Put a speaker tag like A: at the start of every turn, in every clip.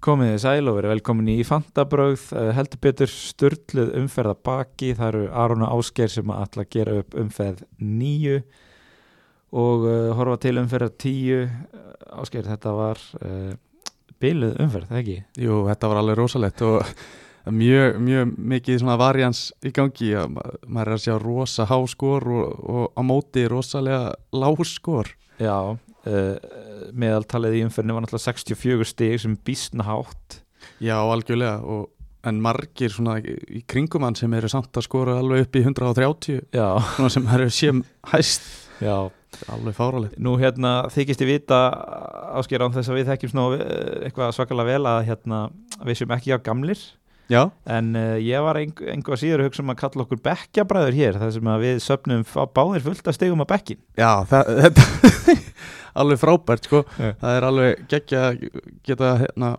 A: Komið þið sæl og verið velkomin í Fantabrögð, Eh, heldur betur störtluð umferð að baki, það eru Arona Ásgeir sem ætla að gera upp umferð nýju og uh, horfa til umferð tíu, Eh, Ásgeir þetta var uh, byluð umferð, það ekki?
B: Jú, þetta var alveg rosalegt og mjög, mjög mikið svona varians í gangi að ma- maður er að sjá rosa háskor og, og á móti rosalega láskor
A: Já, uh, meðaltalið í umferðinu var náttúrulega 64 stig sem býstna hátt,
B: Já, algjörlega og, en margir svona í í kringum hann sem eru samt að skora alveg upp í 130
A: já,
B: svona sem maður eru séum hæst
A: já.
B: alveg fáralegt
A: Nú hérna þykist ég vita Ásgeir án þess að við þekkjum svona eh, eitthvað svakalega vel að hérna við séum ekki á gamlir
B: Já,
A: en uh, ég var eng engu að síður að hugsa um að kalla okkur bekkjabræður hér þar sem að við söpnum fá- báðir fullt að stegum að bekkin
B: já það, þetta alveg frábært sko
A: Já.
B: það er alveg geggja að geta hérna,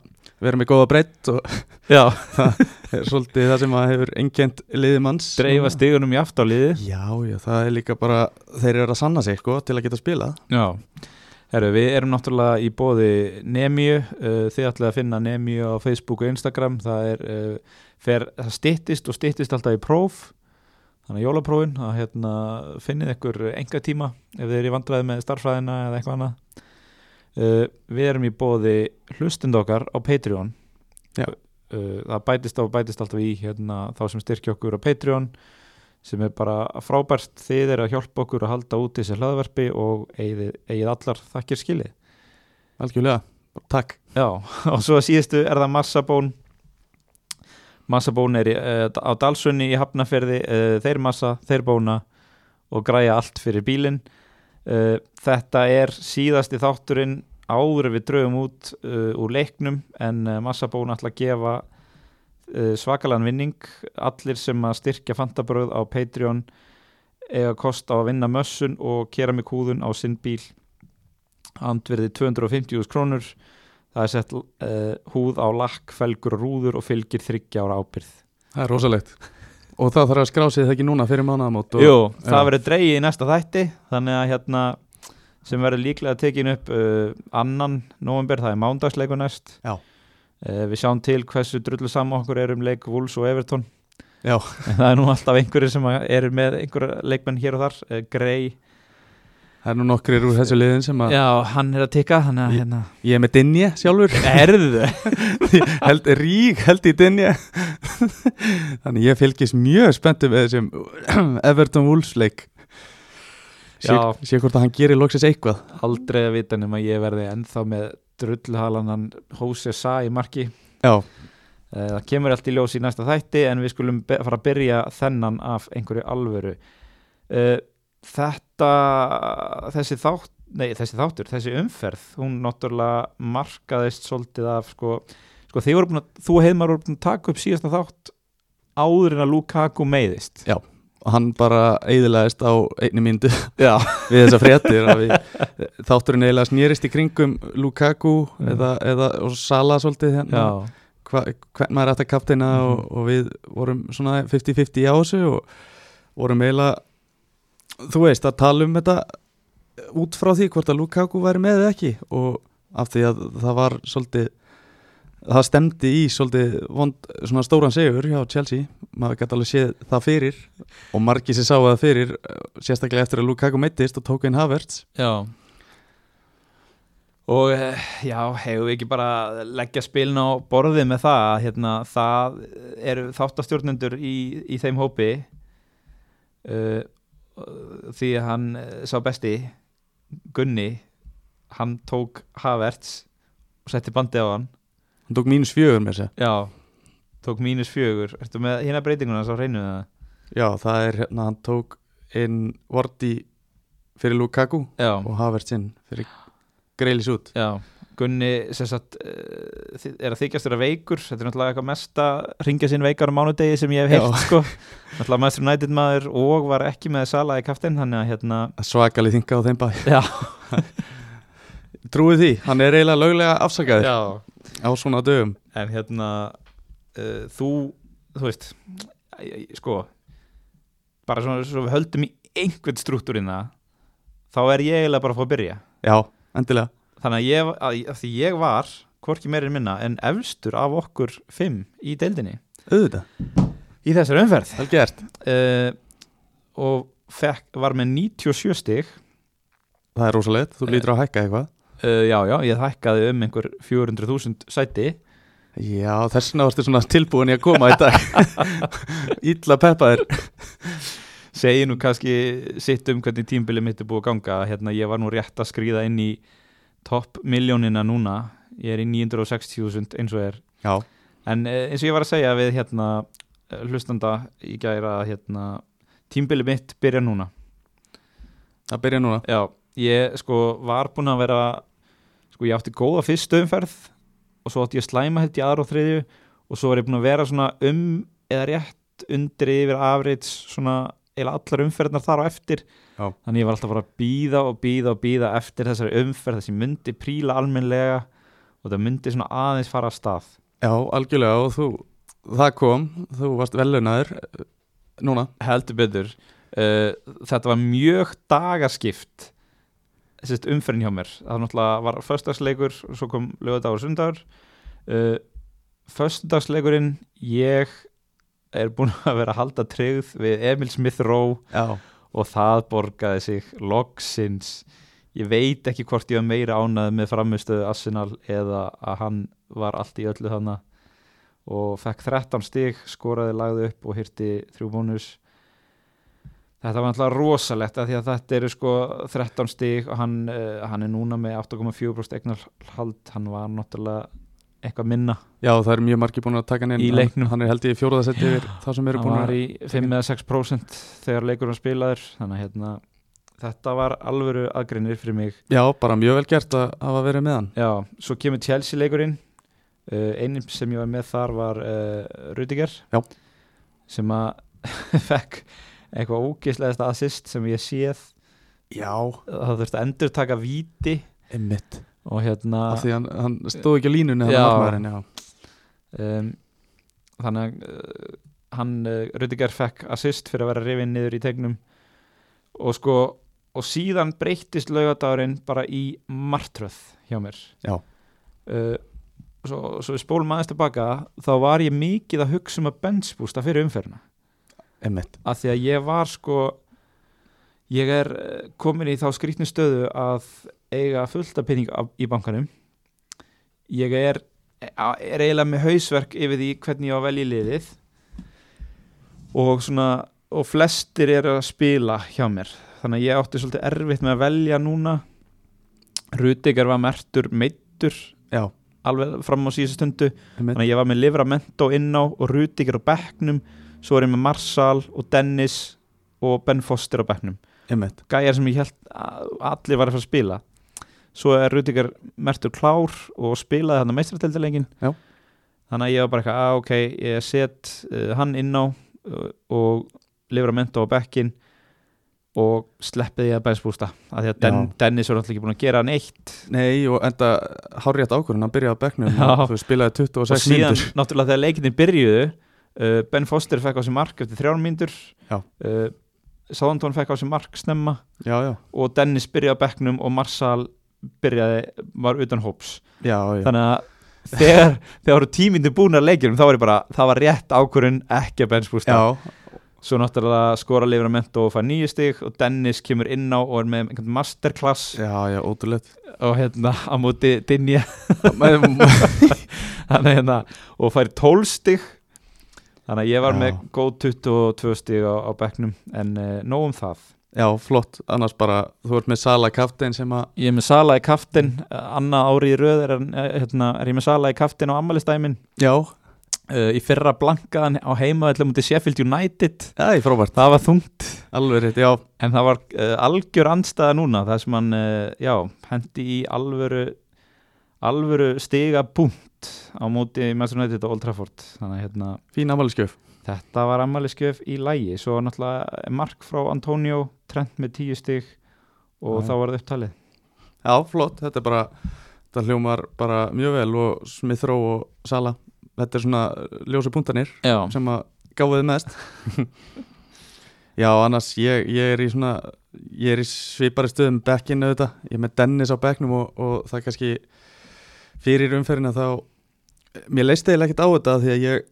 B: verið með góða breytt og
A: Já,
B: er svolítið það sem að hefur engjönd liði manns
A: dreifa stegunum í aftáliði
B: Já, já, það er líka bara þeir eru að sanna sig, sko, til að geta spilað
A: Já, herru, við erum náttúrulega í bóði Nemíu, uh, þið ætlaði að finna Nemíu á Facebook og Instagram, það er, uh, fer, það styttist og styttist alltaf í próf, þannig að jólaprófin, að hérna finnið ykkur enga tíma ef þið eru í vandræði með starffræðina eða eitthvað annað. Uh, við erum í bóði hlustund okkar á Patreon,
B: Já.
A: Uh, það bætist á og bætist alltaf í hérna, þá sem styrkja okkur á Patreon, sem er bara frábært þið er að hjálpa okkur að halda út þessi hlaðverfi og eigið, eigið allar þakkir skilið.
B: Algjörlega, takk
A: Já, og svo að síðustu er það Massabón Massabón er í, uh, á Dalsunni í Hafnaferði, uh, þeir massa, þeir bóna og græja allt fyrir bílinn uh, Þetta er síðasti þátturinn áður en við draugum út uh, úr leiknum en uh, Massabón ætla að gefa uh, svakalan vinning allir sem að styrkja fantabröð á Patreon eiga kost á að vinna mössun og keramikúðun á sinn bíl andverði 250.000 krónur það er sett uh, húð á lakk, felgur og rúður og fylgir þryggja ára ábyrð
B: Það er rosalegt Og það þarf að skrá sig það ekki núna fyrir mánaðamót og...
A: Jú, það
B: já.
A: verður dreigið í næsta þætti þannig að hérna sem verður líklega tekin upp uh, annan november, það er mándagsleiku næst
B: Já.
A: Eh, Við sjáum til hversu drullu saman okkur er um leik Wolves og Everton
B: Já.
A: En Það er nú alltaf einhverjir sem er með einhverja leikmenn hér og þar uh, Grey,
B: Það er nú nokkrir úr þessu liðin sem að
A: já, hann er að tikka þannig að hérna
B: Ég er með Dinje sjálfur
A: Erðu
B: held, Rík held í Dinje Þannig ég fylgist mjög spenntum með þessum Everton Wolves leik Sé,
A: Já.
B: sé hvort að hann gerir loksins eitthvað
A: Aldrei að vita nema ég verði ennþá með drulluhalan hann Hose Sa í marki
B: Já,
A: Eh, Það kemur allt í ljós í næsta þætti en við skulum be- fara að byrja þennan af einhverju alvöru. Eh, Þetta, þessi, þátt, nei, þessi þáttur, þessi umferð, hún náttúrulega markaðist svolítið af, sko, sko þið voru búin að, þú heimar voru búin að taka upp síðasta þátt áður en að Lukaku meiðist.
B: hann bara eiðilegist á einni myndu
A: Já.
B: við þessa fréttir að við, þátturinn eiginlega snýrist í kringum Lukaku
A: Mm.
B: eða, eða og Sala svolítið hérna
A: Já,
B: hva, hvern maður ætti að kapteina og, og við vorum svona 50-50 á þessu og vorum eiginlega þú veist að tala um þetta út frá því hvort að Lukaku væri með eða ekki og af því að það var svolítið það stemdi í svolítið vond, svona stóran segur hjá Chelsea maður gæti alveg séð það fyrir og margir sem sáu það fyrir eh, sérstaklega eftir að Lukaku meittist og tók inn Havertz
A: já. Og eh, já, hefur við ekki bara leggja spilin á borðið með það, að, hérna, það eru þáttastjórnendur í, í þeim hópi uh, því að hann eh, sá besti, Gunni, hann tók Havertz og setti bandið á hann.
B: hann tók mínus fjögur með þessi
A: Já, tók mínus fjögur. Ertu með hérna breytinguna svo reynu það?
B: Já, það er hérna, hann tók inn Vorti fyrir Lukaku
A: Já.
B: og Havertz inn fyrir Greilis út.
A: Já, Gunni sem sagt, eh, þi- er að þykjast vera veikur þetta er náttúrulega eitthvað mesta ringja sín veikar á mánudegi sem ég hef heyrt sko. náttúrulega maður United maður og var ekki með Sala í kaftin þannig að hérna
B: Svakalið þinga á þeim bæ.
A: Já.
B: Trúið því, hann er eiginlega löglega afsakaður
A: já.
B: á svona dögum.
A: en hérna uh, þú, þú veist æ, æ, sko bara svona svo við höldum í einhvern hérna, struktúrina þá er ég eiginlega bara að fá að byrja
B: Já, endilega.
A: þannig að ég, að, að því ég var hvorki meirinn minna en efstur af okkur fimm í deildinni
B: auðvitað,
A: í þessari umferð
B: vel gert
A: uh, og fekk, var með 97 stig
B: það er rosalegt, þú
A: Eh.
B: lítur á að hækka eitthvað
A: uh, já, já, ég hækkaði um einhver 400.000 sæti
B: já, þessna varstu svona tilbúin í að koma í dag illa peppaðir
A: segi nú kannski sitt um hvernig tímbilið mitt er búið að ganga hérna ég var nú rétt að skrýða inn í topp miljónina núna ég er í 960.000 eins og er
B: já,
A: en eh, eins og ég var að segja við hérna eh, hlustanda í gæra hérna tímbilið mitt byrja núna
B: það byrja núna
A: já, ég sko var búinn að vera sko ég átti góða fyrstu umferð og svo átti ég slæma held í aðra og þriðju og svo var ég búinn að vera svona um eða rétt undir yfir afrits svona eða allar umferðnar þar á eftir
B: Já.
A: þannig ég var alltaf bara að býða og býða og býða eftir þessari umferð þessi myndi príla almennlega og það myndi svona aðeins fara af stað
B: já, algjörlega og þú, það kom þú varst velunaður núna,
A: heldur betur uh, þetta var mjög dagaskipt sérst, umferðin hjá mér það náttúrulega var föstagsleikur svo kom lögadagur og sundagur uh, föstagsleikurinn ég er búinn að vera að halda tryggð við Emil Smith Rowe
B: já,
A: og það borgaði sig loksins ég veit ekki hvort ég var meira ánað með framistöðu Arsenal eða að hann var allt í öllu þarna og fekk 13 stig, skoraði lagði upp og hirti þrjú bónus þetta var alltaf rosalegt af því að þetta eru sko 13 stig og hann, uh, hann er núna með 8,4% eignarhald hann var náttúrulega eitthvað minna
B: já, það er mjög margir búin að taka hann inn
A: Í
B: Hann-
A: leiknum.
B: hann er held ég í fjóruðasetti yfir þá sem eru
A: hann
B: búin
A: var
B: að
A: í 5 eða 6% þegar leikurinn var spilaður þannig að hérna, þetta var alvöru aðgreinir fyrir mig
B: já, bara mjög vel gert að hafa verið með hann
A: Já, svo kemur Chelsea leikurinn uh, einin sem ég var með þar var uh, Rudiger
B: Já.
A: sem að fekk eitthvað ógislegasta assist sem ég séð
B: já,
A: það þurfti að endur taka víti
B: einmitt
A: og hérna
B: af því hann, hann stóð ekki á línunni hann
A: Já.
B: markmaðurinn, já.
A: um, þannig að uh, hann uh, Rudiger fekk assist fyrir að vera rifin niður í tegnum og sko og síðan breyttist laugadagurinn bara í martröð hjá mér
B: Já.
A: uh, svo, svo við spólum aðeins tilbaka þá var ég mikið að hugsa um að benchbústa fyrir umferðina
B: einmitt,
A: að því að ég var sko ég er eh, komin í þá skrýtnu stöðu að eiga fullt af pening af- í bankanum ég er, er eiginlega með hausverk yfir því hvernig ég á að velja liðið og svona og flestir eru að spila hjá mér þannig að ég átti svolítið erfitt með að velja núna Rudiger var mertur meittur
B: já,
A: alveg fram á síðustu stundu
B: einmitt
A: þannig að ég var með Livramento inná og Rudiger á bekknum svo er ég með Marsal og Dennis og Ben Foster á bekknum
B: einmitt,
A: gæjar sem ég held að allir var að fara að spila svo er Rudiger mertur klár og spilaði hann að meistratildalegin
B: Já.
A: þannig að ég var bara eitthvað að ok, ég set uh, hann inná uh, og Livramento á bekkin og sleppiði að bænsbústa af því að Den,
B: Já.
A: Dennis var alltaf ekki búin að gera hann eitt
B: nei og enda hárjætt ákvörðun, hann byrjaði á bekknum
A: Já.
B: og þú spilaði
A: og
B: 26
A: síðan
B: mínútur
A: náttúrulega þegar leikinni byrjuðu uh, Ben Foster fekk á sig mark eftir þrjár mínútur
B: Já.
A: uh, Sáðantón fekk á sig mark snemma
B: já, já,
A: og Dennis byrjaði á bekknum og Marsal byrjaði, var utan hóps
B: já, já
A: þannig að þegar, þegar voru tímindu búin að leikjum þá var ég bara, það var rétt ákvörun ekki að bensbústa
B: Já,
A: svo náttúrulega skora Livramento og fær nýju stig og Dennis kemur inn á og er með einhvern masterclass
B: já, já, ótrúlegt
A: og hérna á móti Dinja
B: Já,
A: Þannig að hérna, og fær 12 stig þannig að ég var
B: Já.
A: með góð 22 stig á, á bekknum en uh, nóg um það
B: flott, annars bara þú ert með Sala kaftin sem að
A: ég er með Sala í kaftin annað ári í röð er, hann, eh, hérna, er ég með Sala í kaftin á ammælistæmin
B: Já,
A: uh, í fyrra blankaðan á heimaðallum út í Sheffield United
B: það er frábært,
A: það var þungt
B: alveg rétt, já
A: en það var uh, algjör andstæða núna þar sem hann uh, já, hendi í alvöru alvöru stiga punkt á móti Manchester United og Old Trafford þannig að hérna
B: Fín amalskjöf
A: Þetta var ammæliskef í lægi svo náttúrulega mark frá Antonio Trent með tíu stig og
B: Já.
A: þá var það upptalið
B: Já, flott, þetta er bara þetta hljómar bara mjög vel og Smithrow og Sala þetta er svona ljósi punktanir
A: Já,
B: sem að gáðið mest Já, annars ég, ég er í svona um ég er í svipari stöðum bekkinu auðvitað, ég er með Dennis á bekknum og, og það kannski fyrir umferðina þá mér leist eiginlega ekkert á þetta af því að ég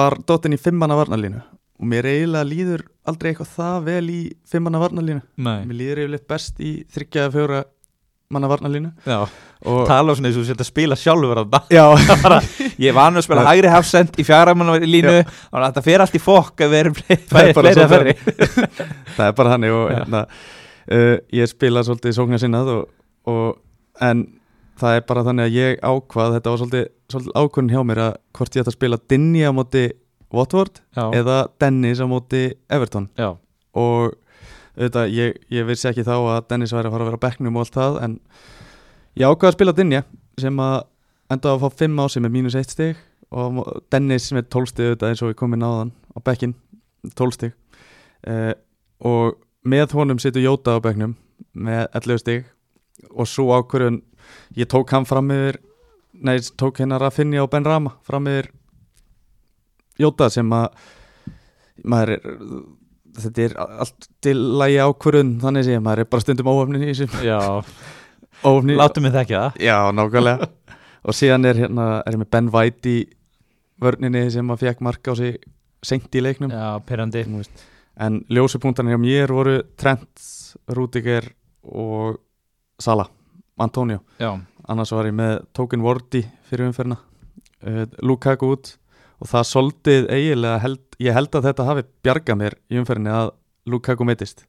B: var dottin í fimmanna varnarlínu og mér eiginlega líður aldrei eitthvað það vel í fimmanna varnarlínu
A: Nei,
B: mér líður eiginlega best í þryggja að fjóra manna varnarlínu
A: já,
B: og
A: tala svona eins og þú sétt að spila sjálfur þarna.
B: já,
A: bara, ég var nú að spila hægri hafsend í fjármann línu, þannig að þetta fer allt í fokk ef við erum fleiri
B: Það er bara
A: fleiri að
B: svolítið
A: ferri
B: það er bara þannig og
A: Já.
B: hérna, uh, ég spila svolítið sókna sinnað og, og en það er bara þannig að ég ákvað þetta var svolítið, svolítið ákvörðin hjá mér að hvort ég ætti að spila Dinni á móti Watford
A: já,
B: eða Dennis á móti Everton
A: já,
B: og auðvitað, ég, ég vissi ekki þá að Dennis væri að fara að vera á bekknum og allt það en ég ákvaði að spila Dinja sem að enda að fá 5 á sig með mínus 1 stig og mo- Dennis með 12 stig auðvitað eins og við komum náðan á bekkin 12 stig eh, og með honum situr Jóta á bekknum með 11 stig og svo ákvörðun ég tók hann fram yfir nei, tók hennar að finja á Ben Rama fram yfir Jóta sem að maður er þetta er allt til lægi ákvörðun þannig sé, maður er bara stundum óöfnin í þessum
A: já
B: óöfnin,
A: látum við þekkja það
B: já, nákvæmlega og síðan er hérna, er ég með Ben White í vörninni sem að fekk mark á sig senkt í leiknum
A: já, perandi,
B: Þú veist. en ljósupunktarnir hjá mér voru Trent, Rudiger og Sala, Antonio
A: já,
B: annars var ég með Token Wardy fyrir umferna uh, Lukaku út og það soldið eiginlega held, ég held að þetta hafi bjarga mér í umferðinni að Lukaku meittist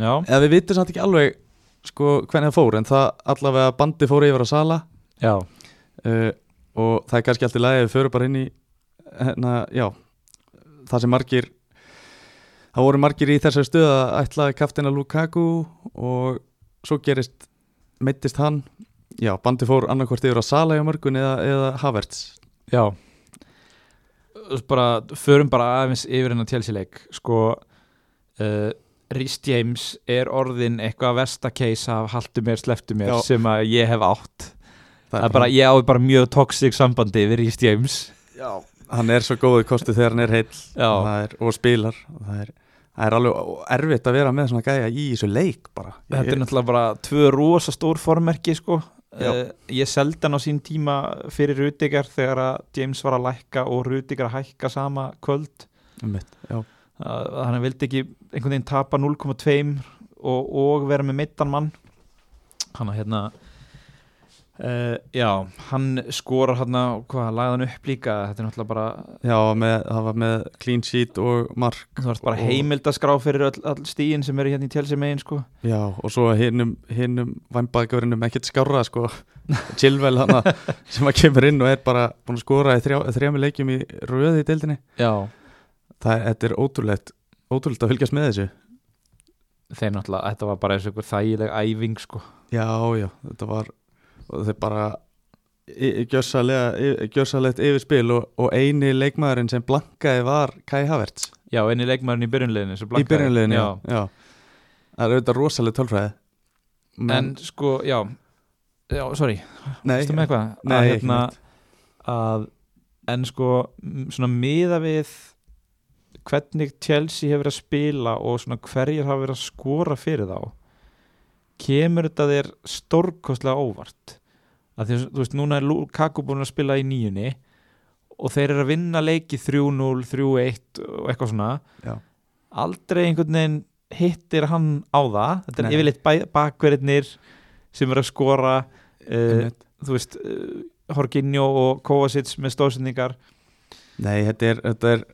A: já
B: eða við vitum samt ekki alveg sko, hvernig það fór en það allavega bandi fór yfir að sala
A: já,
B: uh, og það er kannski allt í lagi að við förum bara inn í hérna, já, það sem margir það voru margir í þessari stöð að ætlaði kaftina Lukaku og svo gerist meittist hann já, bandi fór annarkvort yfir að sala hjá mörgun eða, eða Havertz
A: já bara, förum bara aðeins yfir hennar télsileik sko uh, Rhys James er orðin eitthvað versta keisa af haltu mér, sleftu mér
B: Já.
A: sem að ég hef átt það er bara, ég á bara mjög toxic sambandi við Rhys James
B: já, hann er svo góðu kostu þegar hann er heill og,
A: já,
B: það er, og spilar og það, er, það er alveg erfitt að vera með svona gæja í þessu leik bara
A: þetta er náttúrulega bara tvö rosa stór formerki sko
B: Já.
A: Uh, ég seldi hann á sín tíma fyrir Rudiger þegar að James var að lækka og Rudiger að hækka sama kvöld
B: Einmitt, já.
A: að hann vildi ekki einhvern veginn tapa 0,2 og, og vera með mittan mann hann að hérna uh, já, hann skorar hann að, hvað, lagði hann upp líka þetta er náttúrulega bara,
B: já, með, það var með clean sheet og mark
A: þú ert bara
B: Og-
A: heimildaskrá fyrir öll, öll stíin sem eru hérna í tjálsið megin sko.
B: já, og svo hinnum, hinnum vannbæðgjörinum ekkert skárra sko, chillvel hana sem að kemur inn og er bara búin að skora í þrjá, þrjámi leikjum í röði í deildinni
A: já,
B: það er, þetta er ótrúlegt ótrúlegt að fylgjast með þessu
A: þeim náttúrulega, þetta var bara eins og einhver þægileg æfing sko.
B: já, já, þetta var og þeir bara í- í gjörsamlega- í- gjörsamlegt yfirspil og, og eini leikmaðurinn sem blankaði var Kai Havertz
A: já, enni leikmærin í byrjunleginu
B: í byrjunleginu já. Já. það er auðvitað rosalega tölfræði
A: en sko, já já, sorry,
B: nei,
A: veistu með eitthvað
B: nei,
A: að, hérna
B: ekki neitt.
A: að en sko m- svona miða við hvernig Chelsea hefur verið að spila og svona hverjir hafa verið að skora fyrir þá kemur þetta þér stórkostlega óvart að því að þú veist núna er Lukaku búin að spila í nýjunni og þeir eru að vinna leiki 3-0, 3-1 og eitthvað svona
B: Já.
A: aldrei einhvern veginn hittir hann á það þetta er
B: Nei.
A: yfirleitt bakverðinir sem eru að skora uh,
B: Einmitt.
A: þú veist uh, Horginjó og Kovacic með stóðsendingar
B: Nei, þetta er, þetta er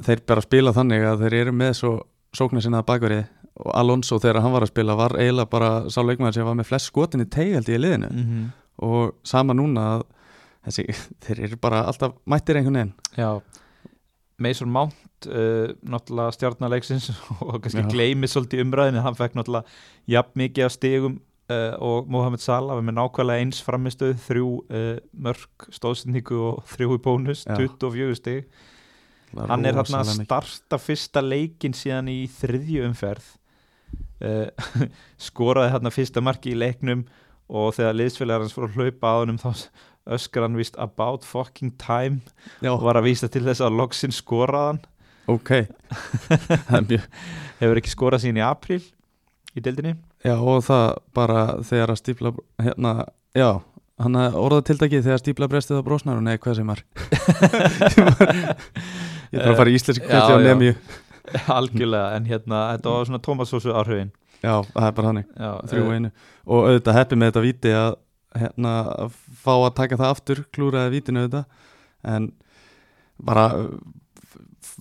B: þeir bara spila þannig að þeir eru með svo sóknar sinnaða bakverið og Alonso þegar hann var að spila var eiginlega bara sá leikmaður sem var með flest skotin í teigaldi í liðinu
A: -hmm.
B: og sama núna að þessi, þeir eru bara alltaf mættir einhvern veginn
A: Já Mason Mount uh, náttúrulega stjarnarleiksins og kannski
B: Já.
A: gleymið svolítið umræðinu hann fekk náttúrulega jafn mikið af stigum uh, og Mohamed Salah var með nákvæmlega eins framistöð þrjú uh, mörk stóðsendingu og þrjú í bónus
B: Já.
A: 24 stig
B: Það
A: hann er hann að
B: rosalega mikið.
A: starta fyrsta leikin síðan í þriðju umferð uh, skoraði hann að fyrsta marki í leiknum og þegar liðsfélagar hans fór að hlaupa á honum þá öskar hann víst about fucking time
B: Já,
A: og var að vísa til þess að loksinn skoraðan
B: ok Það er mjög
A: hefur ekki skorað síðan í apríl í deildinni
B: Já og það bara þegar að stífla hérna, já, hann að orðatiltakið þegar stípla brestið á brosnar og nei, hvað sem var ég þarf að fara í íslensk
A: Já,
B: kvætti á
A: já.
B: nemi
A: algjörlega en hérna, þetta var svona Tómasósu áhrifin
B: já, það er bara hannig,
A: já,
B: þrjú
A: eh,
B: einu og auðvitað heppi með þetta víti að hérna, að fá að taka það aftur klúraði vítinu auðvitað en bara eh,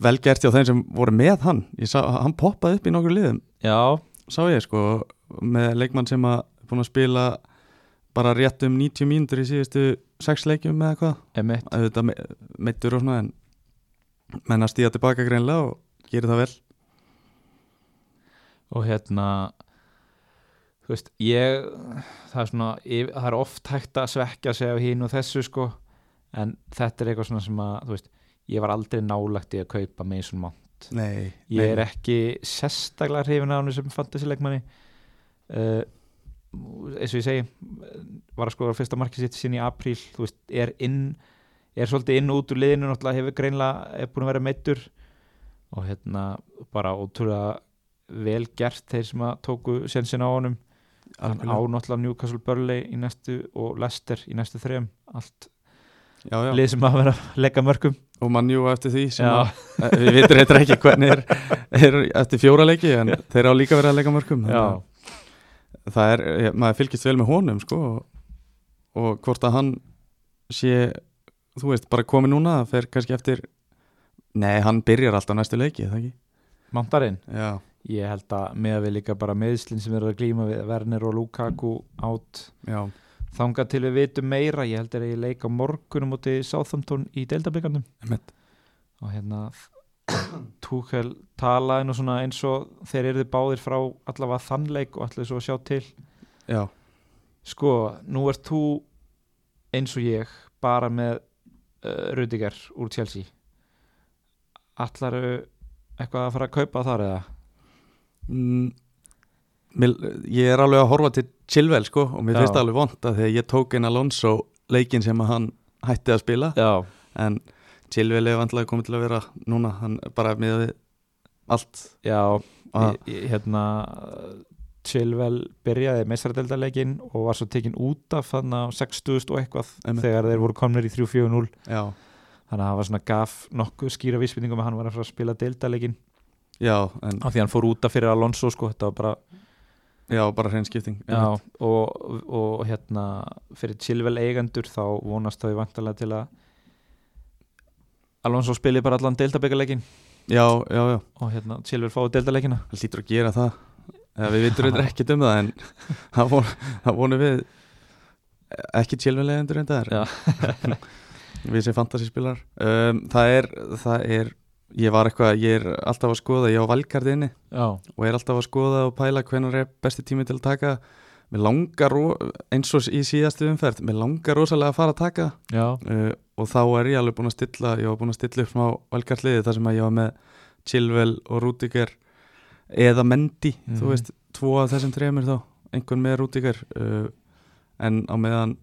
B: velgert hjá þeim sem voru með hann ég sá, hann poppaði upp í nokkur liðum
A: já,
B: sá ég sko með leikmann sem að búin að spila bara rétt um 90 mínútur í síðustu sex leikjum eða hvað
A: emitt
B: auðvitað me- meiddur og svona en menn að stíða tilbaka greinlega og gera það vel
A: og hérna þú veist, ég það er svona, ég, það er oft hægt að svekja sig á hínu og þessu sko en þetta er eitthvað svona sem að þú veist, ég var aldrei nálagt í að kaupa Mason Mount,
B: Nei,
A: ég er ekki sérstaklega hrifin af hann sem fantasy leikmanni uh, eins og ég segi var að skora fyrsta markið sitt sín í apríl þú veist, er inn er svolítið inn og út úr liðinu, náttúrulega hefur greinlega er búin að vera meittur og hérna bara ótrúlega vel gert þeir sem að tóku sensin á honum hann á náttúrulega Newcastle Burley í næstu og Leicester í næstu þrejum allt
B: já, já.
A: lið sem að vera að leggja mörgum
B: og mannjú eftir því sem
A: já,
B: að, Eh, við vitum reyndar ekki hvernig er, er eftir fjóra leiki en þeir á líka verið að leika mörgum þannig
A: já,
B: að það er, ég- maður fylgist vel með honum sko og, og hvort að hann sé, þú veist, bara komið núna það fer kannski eftir nei, hann byrjar alltaf næstu leiki, er það ekki
A: mándarinn
B: já,
A: ég held að með að við líka bara meðslinn sem eru að glíma við Werner og Lukaku átt
B: já,
A: þanga til við vitum meira ég held að ég leika morgunum múti Southampton í deildablikandum
B: Einmitt.
A: og hérna Tuchel talaði nú svona eins og þeir eru báðir frá allavega þannleik og allir svo að sjá til
B: já,
A: sko, nú ert þú eins og ég bara með uh, Rudiger úr Chelsea Ætlarðu eitthvað að fara að kaupa þar eða?
B: Mm, mér, ég er alveg að horfa til Chilwell sko og mér
A: Já.
B: finnst það alveg vond að því að ég tók inn Alonso leikin sem að hann hætti að spila
A: Já,
B: en Chilwell er vantilega komið til að vera núna, hann er bara með við allt
A: já
B: að,
A: Í- í- hérna Chilwell byrjaði meistaradeldarleikin og var svo tekin út af þannig á 60.000 og eitthvað
B: Einmitt.
A: þegar þeir voru komnir í 3-4-0
B: já,
A: þannig að hann var svona gaf nokkuð skýra vísbendingum að hann var að fara að spila deldarleikin
B: já, en,
A: af því að hann fór út af fyrir Alonso sko, þetta var bara,
B: já, bara hreinskipting
A: já, og, og hérna fyrir Chilwell eigendur þá vonast þau vantarlega til að Alonso spili bara allan deildarleikin
B: já, já, já
A: og hérna Chilwell fáið deildarleikina
B: hann lítur að gera það Eða, við vitum reyndar ekkert um það en það von, það vonum við ekki tjélvelegjendur reyndar
A: Já.
B: við sem fantasyspilar um, það er það er ég var eitthvað ég er alltaf að skoða ég á valkardi inni
A: Já,
B: og er alltaf að skoða og pæla hvenar er besti tími til að taka mér langar ro- eins og í síðastu umferð mér langar rosalega að fara að taka
A: já,
B: uh, og þá er ég alveg búin að stilla ég var búin að stilla upp smá valkartliði þar sem að ég var með Chilwell og Rúdiger eða Mendy
A: Mhm.
B: þú veist, tvo af þessum trefnir þá einhvern með Rúdiger uh, en á meðan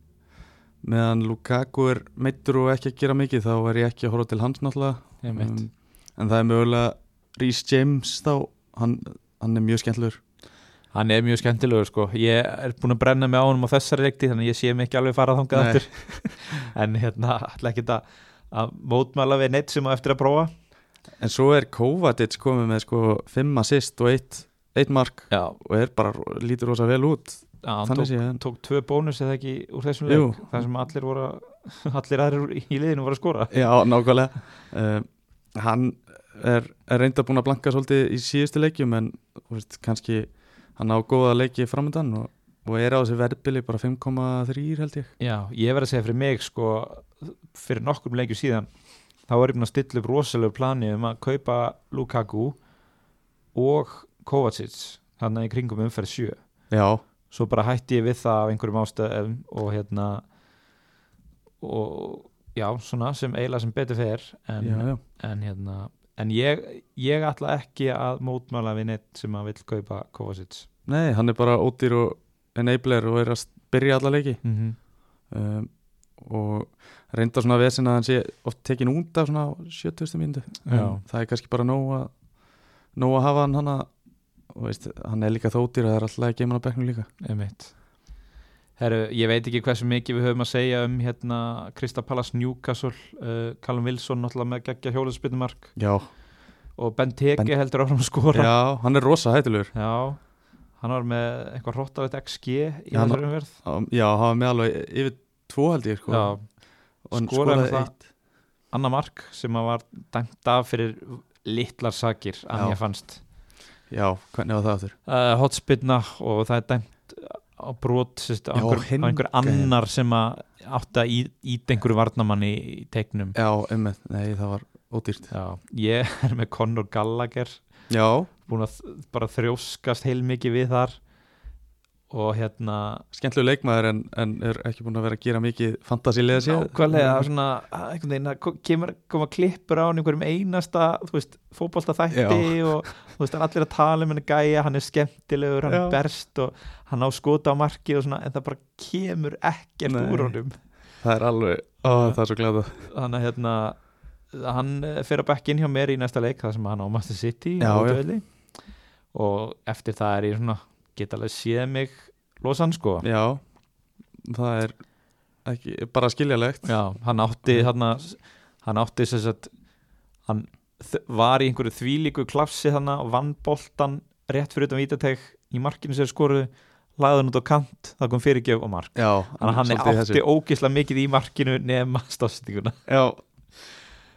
B: meðan Lukaku er meittur og ekki að gera mikið þá er ég ekki að horfa til hans náttúrulega
A: ég mitt
B: um, en það er mögulega Rhys James þá, hann, hann er mjög skemmtlur
A: Hann er mjög skemmtilegur sko Ég er búin að brenna mig á honum á þessari reikti þannig að ég sé mig ekki alveg fara þangað
B: Nei.
A: aftur en hérna, ætla ekki að, að mótmæla við neitt sem á eftir að prófa
B: en svo er Kovacic komið með sko 5 assist og 1 1 mark
A: Já,
B: og er bara, lítur rosa vel út
A: hann
B: þannig
A: tók,
B: séð en-
A: tók tvö bónus eða ekki úr þessum
B: Jú.
A: leik þar sem allir voru að- allir aðrir úr- í liðinu voru að skora
B: Já, nákvæmlega uh, Hann er, er reynda búin að blanka svolítið í síðustu leikjum en þú veist, kannski hann á góða leiki framöndan og, og er á þessi verðbili bara 5,3 held ég
A: Já, ég verð að segja fyrir mig sko fyrir nokkrum leikju síðan þá var ég búin að stilla upp rosalegu plani um að kaupa Lukaku og Kovacic þannig í kringum umferð 7
B: Já,
A: svo bara hætti ég við það af einhverjum ástæðum og hérna og já, svona sem eiginlega sem betur fer en,
B: já, já,
A: en hérna en ég, ég ætla ekki að mótmála við neitt sem að vill kaupa Kovacic
B: nei, hann er bara ódýr og enabler og er að s- byrja alla leiki
A: mm
B: um, og reynda svona vesina að hann sé oft tekin út af svona á 70. mínútu
A: Já.
B: En það er kannski bara nóg að nóg að hafa hann hann að og veist, hann er líka þóttir að það er alltaf ekki að geyma hann á bekknum líka
A: einmitt Heru, ég veit ekki hversu mikið við höfum að segja um hérna Krista Pallas Newcastle uh, Callum Wilson náttúrulega með geggja hjóluðspinnumark
B: Já,
A: og Ben Teke
B: Ben-
A: heldur áfram að skora já.
B: já hann er rosa hættilegur
A: hann var með eitthvað hróttalegt XG í
B: Já, hann-
A: þessari umverð
B: Já, hann var með alveg yfir tvo held ég sko.
A: já,
B: og hann
A: skoraði
B: skoraði
A: það.
B: eitt
A: Anna Mark sem að var dæmt af fyrir litlar sakir að
B: Já.
A: mér fannst
B: Já, hvernig var það aftur?
A: uh, hotspinna og það er dæmt á brot sérst, á
B: Já,
A: einhver,
B: hinn
A: á einhver
B: gæinn.
A: annar sem að átti að í- íta einhverju varnamanni í teiknum
B: Já, ummið, nei það var ódýrt
A: já, ég er með Conor Gallagher
B: Já,
A: búin að þ- bara þrjóskast heilmikið við þar og hérna
B: skemmtlu leikmaður en, en er ekki búin að vera að gera mikið Mm. fantasílega sér
A: nákvæmlega svona að einhvern veginn að ko- kemur, koma klippur á hann í einhverjum einasta þú veist, fótbolta þætti og þú veist, hann allir að tala um henni gæja hann er skemmtilegur, hann
B: Já.
A: er berst og hann á skota á markið og svona en það bara kemur ekkert
B: Nei.
A: úr honum
B: Það er alveg, ó, það er svo glæða
A: þannig að hérna hann eh, fer að bekka inn hjá mér í næsta leik þar sem hann á Master City
B: Já,
A: á
B: já.
A: útivelli. og eftir það er ég svona get alveg séð mig losan sko
B: Já, það er ekki, bara skiljalegt
A: Já, hann átti þarna, hann átti sem sagt hann þ- var í einhverju þvílíku klapsi þarna og vann boltan rétt fyrir utan vítateg í markinu sem skoruðu lagði hann út á kant, það kom fyrirgjöf og mark
B: Já,
A: þannig að hann
B: svolítið
A: átti
B: þessi.
A: ógislega mikið í markinu nema stafsendinguna
B: Já,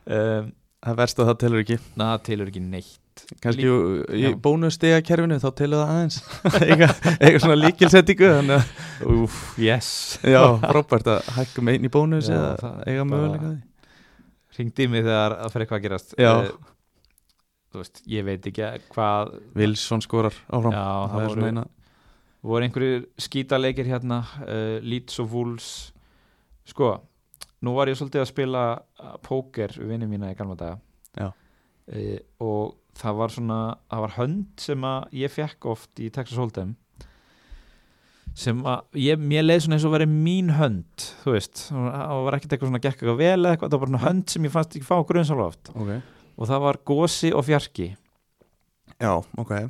A: um,
B: það verst að það telur ekki
A: na, það telur ekki neitt
B: kannski
A: Lík-
B: í
A: já.
B: bónustegakerfinu þá telur það aðeins Eiga- eitthvað svona líkilsettingu þannig að,
A: Úf, yes
B: já, frábært að hækkum einn í bónus
A: Já,
B: eða
A: það er
B: eiga
A: bara-
B: möguleika á því
A: Hringdi í mig þegar það fyrir eitthvað að gerast
B: Já.
A: Eh, Þú veist, ég veit ekki hvað
B: Wilson skorar áfram
A: Já,
B: það,
A: það
B: er svona
A: voru-
B: eina
A: voru einhverjir skítaleikir hérna uh, Leeds og Wolves sko, nú var ég svolítið að spila uh, póker við vinnum mína í gamla daga
B: Já.
A: Eh, og það var svona það var hönd sem að ég fekk oft í Texas Hold'em sem að ég, mér leið svona eins og verið mín hönd þú veist, og það var ekkert eitthvað svona gekk eitthvað vel eða eitthvað, það var bara svona hönd sem ég fannst ekki fá grunnsála oft
B: okay.
A: og það var gosi og fjarki
B: Já, ok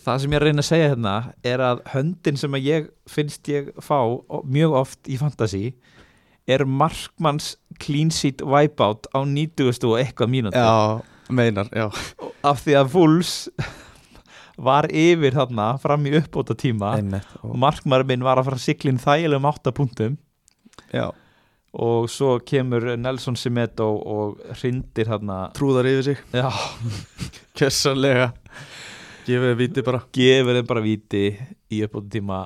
A: Það sem ég er að reyna að segja hérna er að höndin sem að ég finnst ég fá o- mjög oft í Fantasí er Markmanns Clean Sheet Wipeout á 90 og eitthvað mínúti
B: Já, meinar, já
A: af því að Wolves var yfir þarna fram í uppbóta tíma
B: Einmitt,
A: og Markmann minn var að fara að sigla inn þægilegum 8 punktum
B: já,
A: og svo kemur Nelson Semedo og hrindir þarna
B: Trúðar yfir sig,
A: já,
B: kessanlega Gefið viti bara
A: gefur þeim bara viti í uppbóttum tíma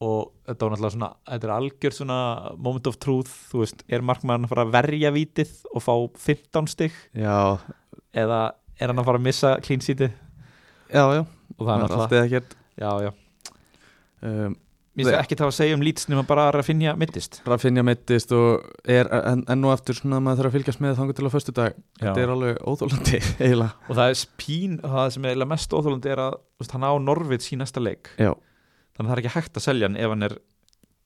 A: og þetta var náttúrulega svona þetta er algjör svona moment of truth þú veist, er markmann að fara að verja vitið og fá 15 stygg
B: Já,
A: eða er hann að fara að missa clean seatið
B: já, já
A: og það er
B: Allt
A: náttúrulega,
B: eða ekkert
A: já, já
B: um,
A: Mér finnst ekki það að segja um lýts nema bara að finja mittist
B: Rafinha meittist og er en, enn og aftur svona að maður þarf að fylgjast með þangu til á föstu dag Þetta er alveg óþólandi, eiginlega
A: og það er spín, það sem er eiginlega mest óþólandi er að þú veist, hann á Norvids í næsta leik
B: Já,
A: þannig að það er ekki hægt að selja hann ef hann er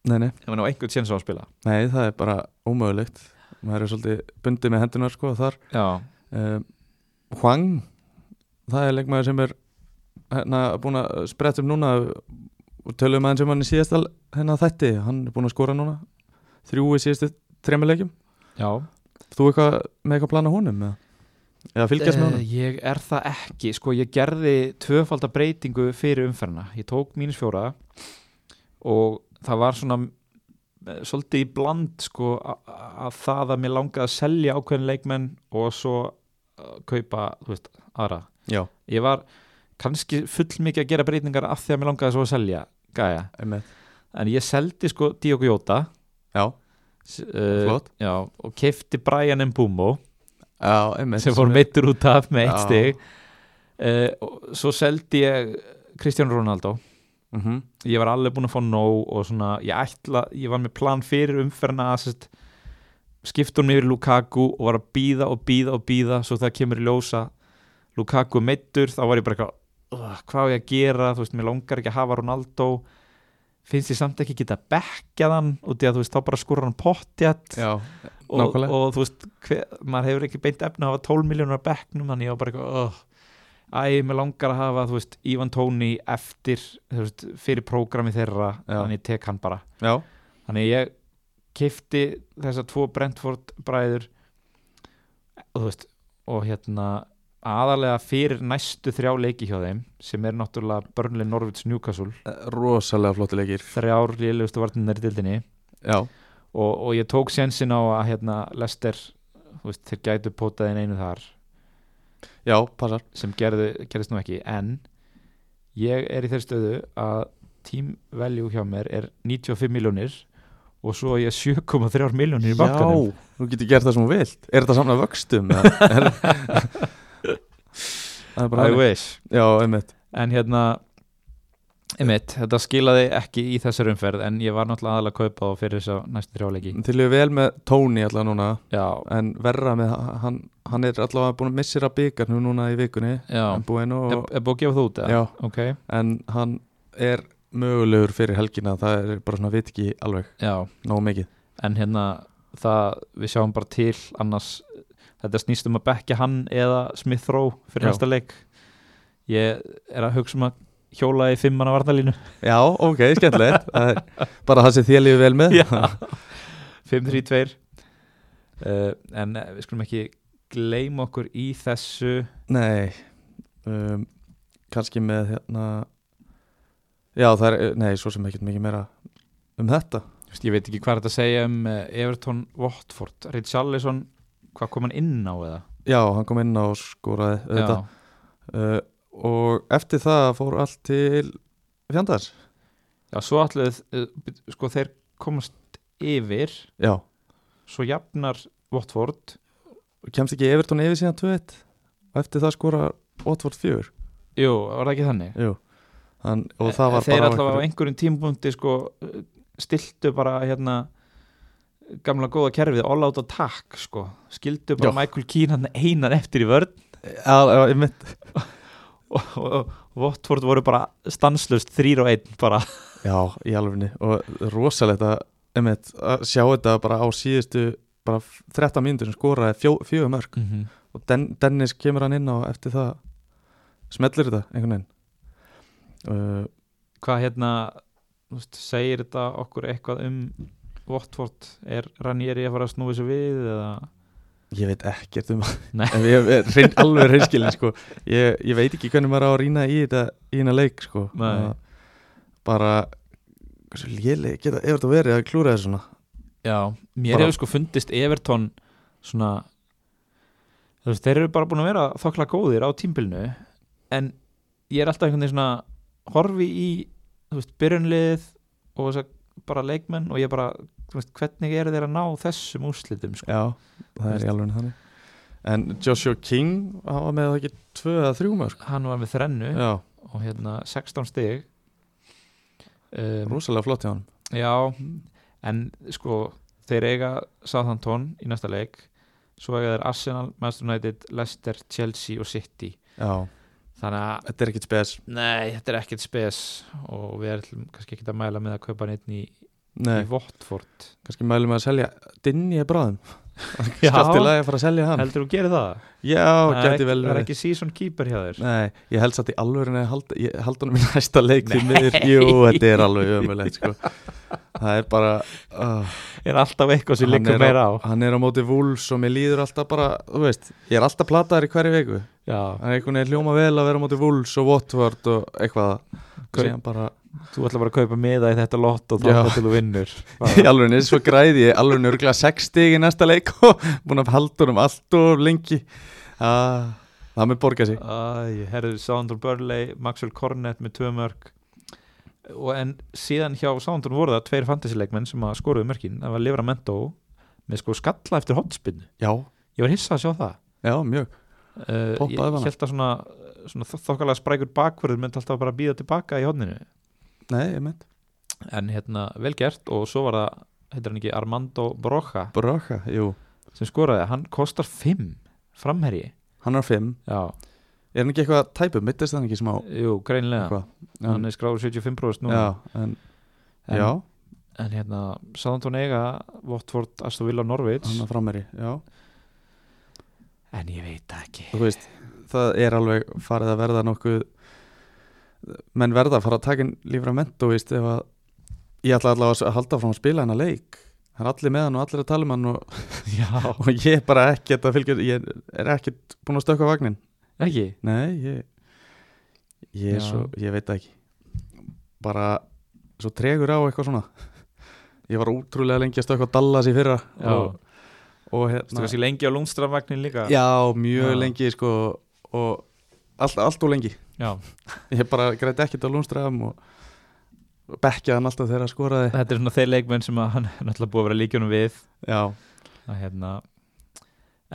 B: nei, nei,
A: ef hann á einhvern séns á að spila
B: nei, það er bara ómögulegt Maður er svolítið bundið með hendunar sko þar
A: já,
B: um, Hwang, það er leikmaður sem er hérna búin að spretta upp núna og tölum aðeins um hann í síðasta hérna þætti, hann er búin að skora núna þrjú í síðustu tremuleikjum
A: já.
B: þú eitthvað með eitthvað plana honum eða, eða fylgjast með
A: Eh,
B: honum
A: Ég er það ekki, sko ég gerði tvöfalda breytingu fyrir umferðina ég tók mínus fjóra og það var svona eh, svolítið í bland sko a- a- að það að mér langaði að selja ákveðin leikmenn og svo eh, kaupa, þú veist, aðra
B: já,
A: ég var kannski full mikið að gera breytingar af því að mér langaði svo að selja gæja,
B: einmitt
A: en ég seldi sko Diogo Jota
B: já,
A: uh,
B: Flott.
A: já, og kefti Brian Mbumo
B: já, einmitt
A: sem fór meittur út af með eitt
B: Já.
A: stig uh, og svo seldi ég Kristján Ronaldo
B: mm -hmm.
A: ég var alveg búinn að fá nóg og svona ég ætla, ég var með plan fyrir umferna að sest, skipta hún yfir Lukaku og var að býða og býða og býða svo það kemur í ljósa Lukaku er meittur, þá var ég bara eitthvað "Ugh, hvað á ég að gera, þú veist, mér langar ekki að hafa Ronaldo finnst ég samt ekki geta bekkjað hann og því að þú veist, þá bara skora hann pottjætt
B: já,
A: og,
B: Nákvæmlega.
A: og þú veist, hver, maður hefur ekki beint efna að hafa 12 miljónur að bekknum þannig ég var bara eitthvað oh, æ, mér langar að hafa, þú veist, Ivan Tóni eftir, þú veist, fyrir prógrami þeirra,
B: Já.
A: þannig ég tek hann bara
B: já,
A: þannig ég kifti þessa tvo Brentford bræður og þú veist og hérna aðalega fyrir næstu þrjá leiki hjá þeim sem er náttúrulega Burnley, Norwich, Newcastle
B: rosalega flotti leikir
A: þrjár lélugustu vartinir í dildinni
B: já,
A: og, og ég tók sensin á að hérna Lester, þú veist, þeir gætu potaðin einu þar
B: já, passar
A: sem gerðu, gerðist nú ekki en ég er í þeir stöðu að team value hjá mér er 95 miljónir og svo á ég 7,3 miljónir í bankanum
B: Já, þú getur gert það sem þú vilt Er þetta samna vöxtum? eða er- það er bara
A: I
B: þannig.
A: wish
B: Já, einmitt
A: En hérna einmitt, þetta skilaði ekki í þessar umferð en ég var náttúrulega aðalega að kaupa þá fyrir þess að næstu þrjáleiki
B: Til ég vel með Tony allavega núna
A: Já,
B: En verra með hann Hann er allavega búin að missir að byggar nú núna í vikunni
A: já
B: En búin
A: Er,
B: og
A: er búið að gefa þú út eða?
B: Já,
A: Ok,
B: en hann er mögulegur fyrir helgina Það er bara svona veit ekki alveg
A: já
B: Nógu mikið
A: En hérna, það, við sjáum bara til annars, þetta snýst um að bekka hann eða Smith Rowe fyrir
B: Já.
A: næsta leik Ég er að hugsa um að hjóla í fimmana varnalínu
B: Já, ok, skemmtilegt Það er Bara það sem þér lífi vel með
A: Já. 5-3-2 uh, En eh, við skulum ekki gleyma okkur í þessu
B: Nei um, Kanski með hérna Já það er Nei svo sem ekkert mikið meira Um þetta
A: Þú veist, ég veit ekki hvað er þetta að segja um eh, Everton Watford, Richarlison hvað kom hann inn á eða
B: Já hann kom inn á og skoraði þetta
A: Já.
B: uh, Og eftir það fór allt til Fjandars
A: Já, svo allir sko þeir komast yfir
B: Já
A: svo jafnar Watford
B: Kemst ekki Evertón yfir síðan 2-1 Og eftir það skora Watford 4
A: Jú, var það ekki þannig?
B: Jú Hann, Og það var
A: Þeir
B: bara á
A: allavega á
B: einhverju-
A: einhverjum tímpunkti sko eh, stiltu bara hérna gamla góða kerfið all out attack sko, skildu bara
B: Já.
A: Michael Keane hann einan eftir í vörn
B: Já, já, ég mynd
A: og, og, og Watford voru bara stanslust þrýr og einn bara
B: Já, í alvegni og rosalegt að, einmitt, að sjá þetta bara á síðustu bara 13 mínútur sem skoraði fjó, fjögur mörg
A: mm -hmm.
B: og Den Dennis kemur hann inn á og eftir það smellir þetta einhvern veginn uh,
A: hvað hérna þú veist, segir þetta okkur eitthvað um Watford, er Ranieri að fara að snúi svo við eða
B: ég veit ekkert um
A: Nei.
B: en ég er reyn, alveg reynskilin sko. ég, ég veit ekki hvernig maður á að rýna í þetta í hérna leik sko.
A: Nei.
B: Að bara hversu léleg geta ef þetta verið að klúra þessu svona
A: já, mér
B: Bara-
A: hefur sko fundist Everton svona þú veist, þeir eru bara búin að vera þokla góðir á tímbilinu en ég er alltaf einhvern veginn svona horfi í, þú veist, byrjunlið og þess að bara leikmenn og ég bara, þú veist, hvernig eru þeir að ná þessum úrslitum, sko
B: já, það er í alveg þannig en Joshua King hann var með það ekki tvö eða þrjú sko. mörg
A: hann var með þrennu
B: já,
A: og hérna 16 stig um,
B: rosalega flott hjá hann
A: Já, en sko þeir eiga Southampton í næsta leik svo eiga þeir Arsenal, Manchester United, Leicester, Chelsea og City
B: já,
A: þannig að
B: þetta er ekkert spes
A: nei, þetta er ekkert spes og við erum kannski ekkert að mæla með að kaupa neitt í, í
B: Nei,
A: Votford
B: kannski mælum við að selja Dinni er bráðum
A: Já.
B: Skallt í lagi að fara að selja hann
A: Heldur þú gerir það?
B: Já,
A: það er
B: geti
A: ekki,
B: vel
A: það er
B: verið
A: ekki season keeper hjá þér
B: Nei, ég held satt í alvörinni að halda, ég halda hann í næsta leik því miður, jú, þetta er alveg ömulegt sko. það er bara uh,
A: er alltaf eitthvað sem
B: Hann
A: liggur
B: er
A: meira á
B: hann er á móti vúls og mér líður alltaf bara þú veist, ég er alltaf plataður í hverju viku
A: Já,
B: hann er einhvern veginn hljóma vel að vera á móti vúls og Watford og eitthvað
A: Hver-
B: síðan bara,
A: þú ætlar bara að kaupa miða í þetta lott og
B: Já.
A: þá til þú vinnur
B: í alvörinni, svo græði ég alvörinni örgulega 60 í næsta leik og búin að halda honum allt og lengi ah, það með borga sig
A: Æ, herðu, Soundon Burley, Maxwell Cornett með tvö mörg og en síðan hjá Soundon voru það tveir fantasy-leikmenn sem að skoruðu mörkin það var Livramento með sko skalla eftir hotspinnu,
B: já,
A: ég var hissa að sjá það
B: já, mjög
A: uh,
B: Poppaði
A: ég
B: hana.
A: held að svona, svona þ- þokkalega sprækur bakvörður myndi alltaf bara býða tilbaka í hodninu
B: nei, ég meint,
A: en hérna, vel gert og svo var það heitir hann ekki Armando Broja
B: braka, jú
A: sem skoraði, hann kostar 5 framherji
B: hann er á 5
A: Já,
B: Er hann ekki eitthvað tæpu, mittist hann ekki smá
A: jú, greinlega,
B: eitthvað?
A: hann er skráður 75% núna
B: Já, en,
A: En-
B: já,
A: en hérna Southampton eiga Watford, Aston Villa, Norwich
B: hann er frammeiri Já,
A: en ég veit það ekki
B: þú veist það er alveg farið að verða nokkuð menn verða að fara að taka inn lífra mentó veist, ef að ég ætla allavega að halda frá að spila hennar leik það er allir með hann og allir að tala um hann og,
A: Já,
B: og ég er bara ekkert að fylgja ég er ekkert búin að stökka vagnin
A: ekki
B: nei, ég ég, er
A: Já.
B: svo, ég veit það ekki bara svo tregur á eitthvað svona ég var útrúlega lengi að stökka að dalla sér fyrra
A: Já,
B: og, og
A: þú
B: hérna
A: kannski lengi á lúmstramvagnin líka
B: Já, mjög
A: Já.
B: lengi sko og allt, allt og lengi
A: Já.
B: ég bara græti ekkert á Lundström og bekkjaði hann alltaf þegar að skoraði
A: Þetta er svona þeir leikmenn sem að hann er náttúrulega búið að vera líkjunum við
B: Já,
A: að hérna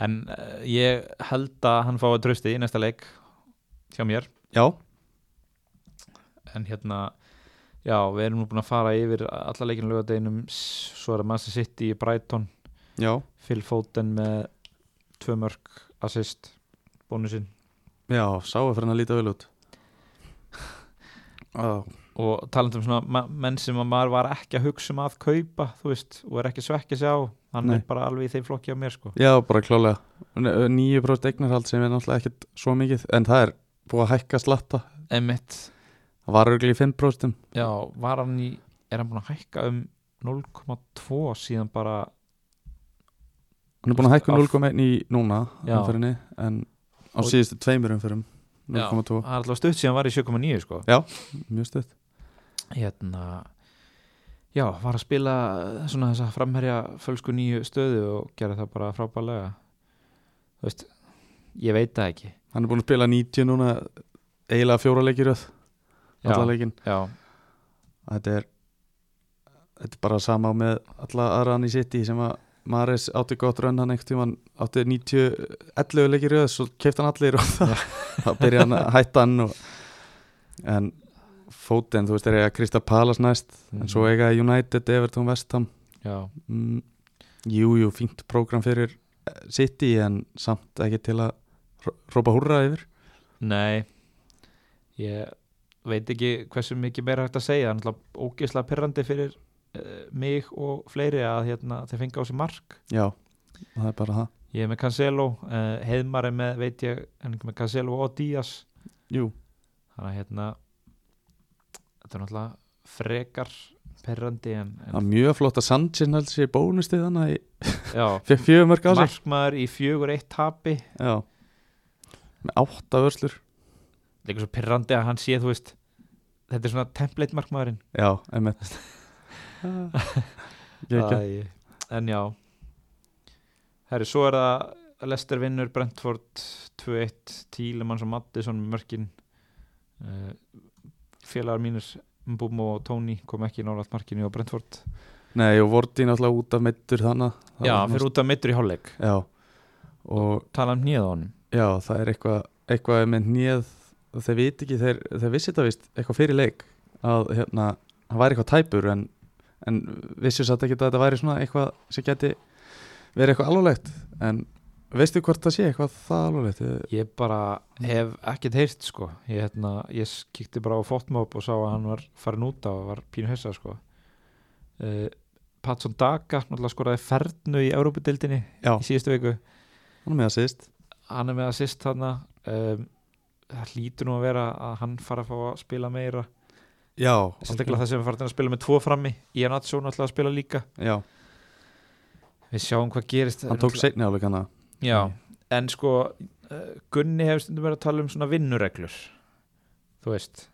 A: en uh, ég held að hann fái trösti í næsta leik hjá mér
B: já,
A: en hérna já, við erum nú búin að fara yfir alla leikinu lögadeginum svo er að Manchester City í Brighton
B: já,
A: Phil Foden með tvö mörg assist bónusinn
B: já sáu fyrir hann að líta vel út Já,
A: og talandi um svona ma- menn sem að maður var ekki að hugsa um að kaupa þú veist, og er ekki svekki sig á hann
B: Nei.
A: er bara alveg í þeim flokki á mér sko
B: já bara klálega 9% eignarhald sem er náttúrulega ekkert svo mikið en það er búið að hækka slatta
A: Emmett,
B: það var örgli í 5%
A: já, var hann í er hann búin að hækka um 0,2 síðan bara
B: hann er búin að hækka um
A: Af-
B: 0,1 í núna
A: Já.
B: umfyrinni, en á
A: Og-
B: síðustu tveimur umfyrum
A: Það
B: 0,2,
A: er alltaf stutt síðan var í 7,9 sko
B: mjög stöð
A: Hérna Já, var að spila eh, svona þessa framherja fölsku nýju stöðu og gera það bara frábælega Þú veist, ég veit það ekki
B: Hann er búin að spila 90 núna eiginlega fjóra leikir öð alla
A: Já,
B: leikin
A: já,
B: þetta er, þetta er bara sama með alla aðra hann í City sem að Maris átti gott rönn hann einhvern tímann átti 90 11 leikir öð svo keipt hann allir og það það byrja hann að hætta hann og, en Foden þú veist er eiga Krista Palas næst
A: Mhm.
B: en svo eiga United, Everton, Vestham
A: já,
B: mm, jú, jú, fínt prógram fyrir eh, City en samt ekki til að hró- hrópa húrra yfir
A: nei Ég veit ekki hversu mikið meira hægt að segja, hann er alltaf ógeðslega pirrandi fyrir uh, mig og fleiri að hérna, þeir fengi á sig mark
B: já, það er bara það
A: Ég er með Cancelo, uh, Heiðmar er með, veit ég, hann er ekki með Cancelo og Díaz
B: Jú,
A: Þannig að hérna, þetta er náttúrulega frekar perrandi en,
B: það
A: en
B: er mjög flott að Sanchez held sér í bónustið hann að
A: já,
B: fekk fjögur mörg á sig
A: markmaður í fjögur eitt tapi.
B: Já með átta vörslur
A: Líka svo perrandi að hann sé, þú veist, þetta er svona template markmaðurinn.
B: Já, emmett Gekja
A: Æ, En já, herri, svo er það Lester vinnur Brentford 2-1, Tílemanns og Mattisson mörkin, uh, félagar mínus Mbumo og Tony kom ekki nálaðt markinu á Brentford.
B: Nei, og Vorti náttúrulega út af meittur þannig
A: Já, fyrir út af mittur í hálfleik,
B: Já, og
A: tala um nýðað honum.
B: já, það er eitthvað eitthvað með nýð þeir viti ekki, þeir, þeir vissi þetta vist eitthvað fyrir leik að hérna, hann væri eitthvað tæpur en, en vissi satt ekki að þetta væri svona eitthvað sem geti verið eitthvað alvarlegt en veistu hvort það sé eitthvað það alvarlegt Ég-
A: Ég bara hef ekkert heyrt sko Ég, hérna, ég s- kíkti bara á fótmóp og sá að hann var farin út á og var pínu hessa sko uh, Patson Daka náttúrulega skoraði fernu í Európa-dildinni
B: Já,
A: í síðustu viku
B: hann er með að síðst
A: Hann er með assist þarna um, Það hlýtur nú að vera að hann fara að fá að spila meira
B: Já,
A: Sérstaklega það sem er farin að spila með tvo frammi Ian Atsjón náttúrulega að spila líka
B: Já,
A: Við sjáum hvað gerist
B: hann tók seinni áleik hana
A: Já, en sko eh, Gunni hefur stundum verið að tala um svona vinnureglur þú veist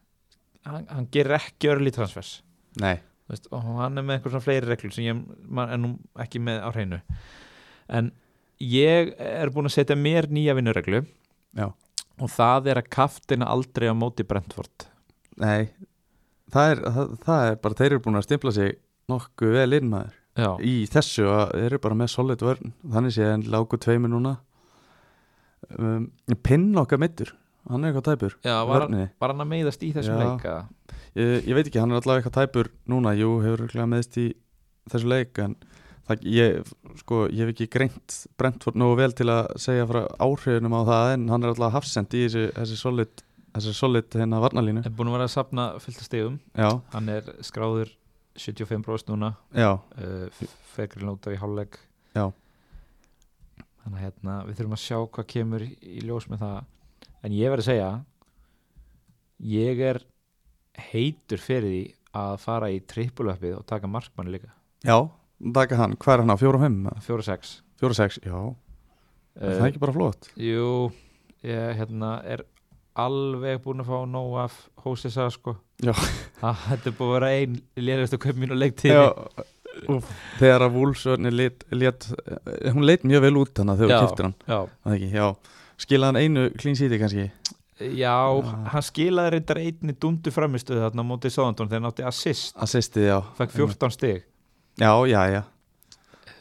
A: hann, hann gerir ekki örli transfers
B: Nei,
A: Þú veist, og hann er með einhver svona fleiri reglur sem ég man- er nú ekki með á hreinu en ég er búin að setja mér nýja vinnureglu
B: Já.
A: og það er að kaftina aldrei á móti Brentford
B: nei það er, það, það er bara, þeir eru búin að stimpla sig nokkuð vel inn maður
A: Já,
B: í þessu að þeir eru bara með solid vörn þannig sé hann lágu tveimur núna um, Pinn okkar meittur, hann er eitthvað tæpur
A: Já var,
B: vörninni,
A: var hann að meiðast í þessum
B: Já.
A: leika
B: ég, ég veit ekki, hann er allavega eitthvað tæpur núna, jú, hefur örugglega meðst í þessu leik en það, ég, sko, ég hef ekki greint Brentford nógu vel til að segja frá áhrifunum á það en hann er allavega hafsend í þessu, þessu solid þessu solid hérna varnalínu
A: er búin að vera að safna fylgta stegum
B: já,
A: hann er skráður 75% núna
B: já,
A: uh, fegrin út af í hálfleik
B: Já.
A: þannig að hérna, við þurfum að sjá hvað kemur í í ljós með það en ég verði að segja ég er heitur fyrir því að fara í trippulöppið og taka markmanni líka
B: Já, taka hann, hvað er hann á 4 og 5?
A: 4-6
B: 4 og 6, já, Ah. er
A: Eh,
B: það er ekki bara flott
A: Jú, ég hérna, er alveg búin að fá nóg af hósisa sko
B: Já.
A: Það- Þetta er búin að vera ein lélægstu kaup mín og leiktíð
B: já, úf, Þegar að Wools lét, lét, eh, hún leit mjög vel út hann þegar
A: Já.
B: þú kiptir hann
A: já.
B: var það ekki, já. Skilaði hann einu clean city kannski
A: já,
B: Já.
A: hann skilaði reyndar einni dundu framistuð þarna á móti Sáðandón þegar hann átti assist
B: Assistið, já
A: fekk 14 stig
B: Já, já, já,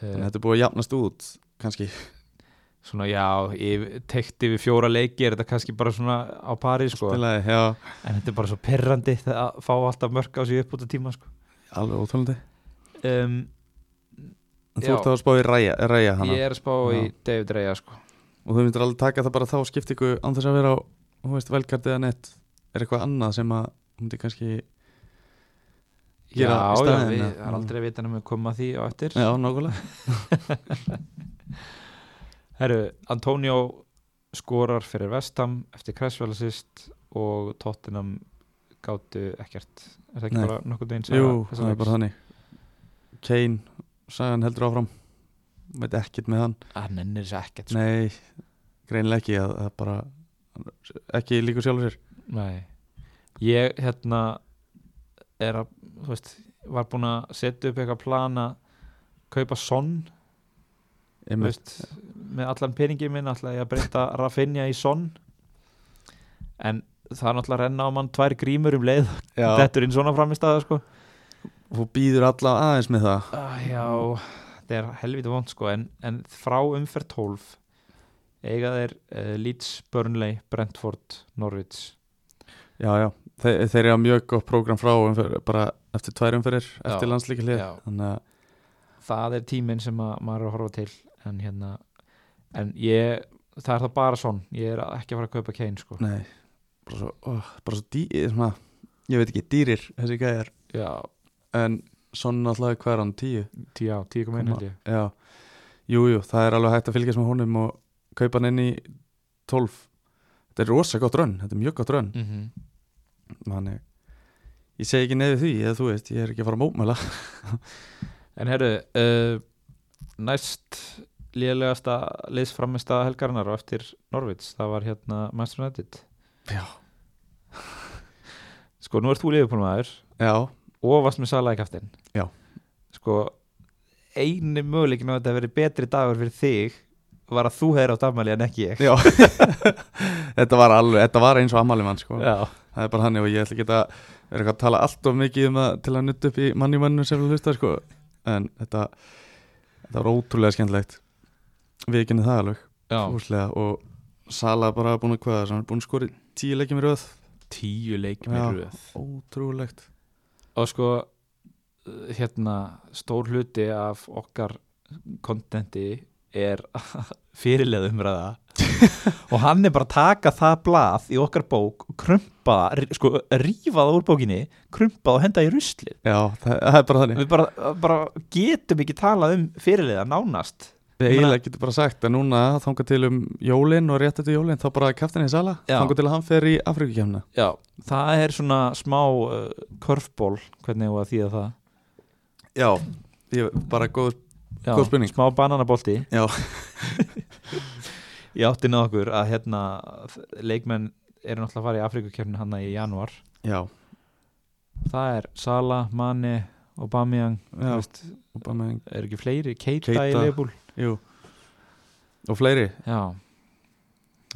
A: Eh,
B: þannig að þetta er búið að jafnast út kannski
A: Svona já, yfir- teykt yfir fjóra leiki er þetta kannski bara svona á pari sko
B: Spilaði, já,
A: En þetta er bara svo perrandi að fá alltaf mörk á sig upp út af tíma sko
B: alveg óþólandi
A: um,
B: En
A: Já.
B: þú ert þá að spá í ræja, ræja hana
A: Ég er að spá í David Reyja sko
B: og þú myndir alveg taka það bara þá skiptingu án þess að vera á, þú veist, velgardið eða nett er eitthvað annað sem að þú myndir kannski
A: Já,
B: Gera í
A: já,
B: staðinn,
A: við,
B: eða?
A: það er aldrei að vita nefnum að koma að því á eftir
B: Já, nákvæmlega
A: Herru, Antonio skorar fyrir Vestam eftir Kressfélagsist og Tottenham gátu ekkert Er það ekki
B: Nei.
A: bara nokkuð veginn
B: Jú, það er bara þannig Kane, sagan heldur áfram veit ekkert með hann
A: Hann nennir þessu ekkert sko.
B: Nei, greinilega ekki að, að bara, ekki líkur sjálfur sér
A: Nei. Ég hérna er að, þú veist, var búinn að setja upp eitthvað plan að kaupa sonn
B: Einmitt.
A: veist, með allan peningin minn ætla ég að breyta Rafinha í sonn en það er náttúrulega að renna á mann tvær grímur um leið
B: Já,
A: þetta er einn svona framistæða sko
B: þú býður alla aðeins með það
A: ah, já, þetta er helviti vond sko en, en frá umferð 12 eiga þeir uh, Leeds, Burnley, Brentford, Norwich
B: Já, já, Þe, þeir eru að mjög gott prógram frá umfyrir, bara eftir tvær umfyrir, eftir
A: Já,
B: landslíkja hlið
A: já.
B: Þannig að,
A: það er tíminn sem að, maður er að horfa til en hérna en ég, það er það bara svon ég er ekki að fara að kaupa Kane sko
B: nei, bara svo, ó, bara svo dý, svona, ég veit ekki, dýrir þessi gæjar
A: já,
B: En svona alltaf hvað er hann, tíu?
A: tí, já, tíu kom einn held ég
B: Já, jú, jú, það er alveg hægt að fylgjast með honum og kaupa hann inn í 12 Þetta er rosa gott rönn, þetta er mjög gott rönn
A: mm -hmm.
B: Þannig, ég segi ekki nefið því, eða þú veist, ég er ekki að fara að mótmæla
A: En herru, uh, næst lélegasta liðsframista helgarinnar og eftir Norvits, það var hérna Manchester United.
B: Já.
A: Sko, nú ert þú liðupólmaður
B: Já,
A: og varst með Salah í kaftin.
B: Já.
A: Sko, eini möguleikin á að þetta hafi verið betri dagur fyrir þig var að þú hefur átt afmæli en ekki ég.
B: já Þetta var alveg, þetta var eins og ammali mann, sko
A: Já.
B: Það er bara hann og ég ætla ekki að vera eitthvað að tala allt of mikið um það til að nutta upp í manni mannum sem við hlusta, sko En þetta, þetta var ótrúlega skemmtilegt Við ekki það alveg
A: Já.
B: Úslega, og Sala bara búin að hvaða hann er búin að skori tíu leikjum í röð
A: Tíu leikum
B: Já.
A: í röð.
B: ótrúlegt
A: og sko uh, hérna stór hluti af okkar kontenti er fyrirlega umræða og hann er bara að taka það blað í okkar bók og krumpa það, rí- sko rífa það úr bókinni krumpa það og henda í ruslið
B: já, það, það er bara þannig
A: við bara, bara getum ekki talað um fyrirlega nánast
B: við
A: ég meina-
B: eiginlega getum bara sagt að núna þanga til um jólin og rétt eftir jólin þá bara kaftinni Sala
A: Já.
B: þanga til að hann fer í Afrikakefna
A: Já. það er svona smá uh, körfból, hvernig þú að þýða það
B: já, ég, bara góð
A: Já,
B: Góð spurning.
A: smá bananabolti
B: Já.
A: Ég átti náðu okkur að hérna leikmenn eru náttúrulega að fara í Afrikukefni hann í janúar
B: já,
A: Það er Sala, Mane, Aubameyang
B: já,
A: þú veist,
B: og bara með
A: er ekki fleiri, Keita,
B: Keita.
A: í leifbúl
B: jú og fleiri
A: Já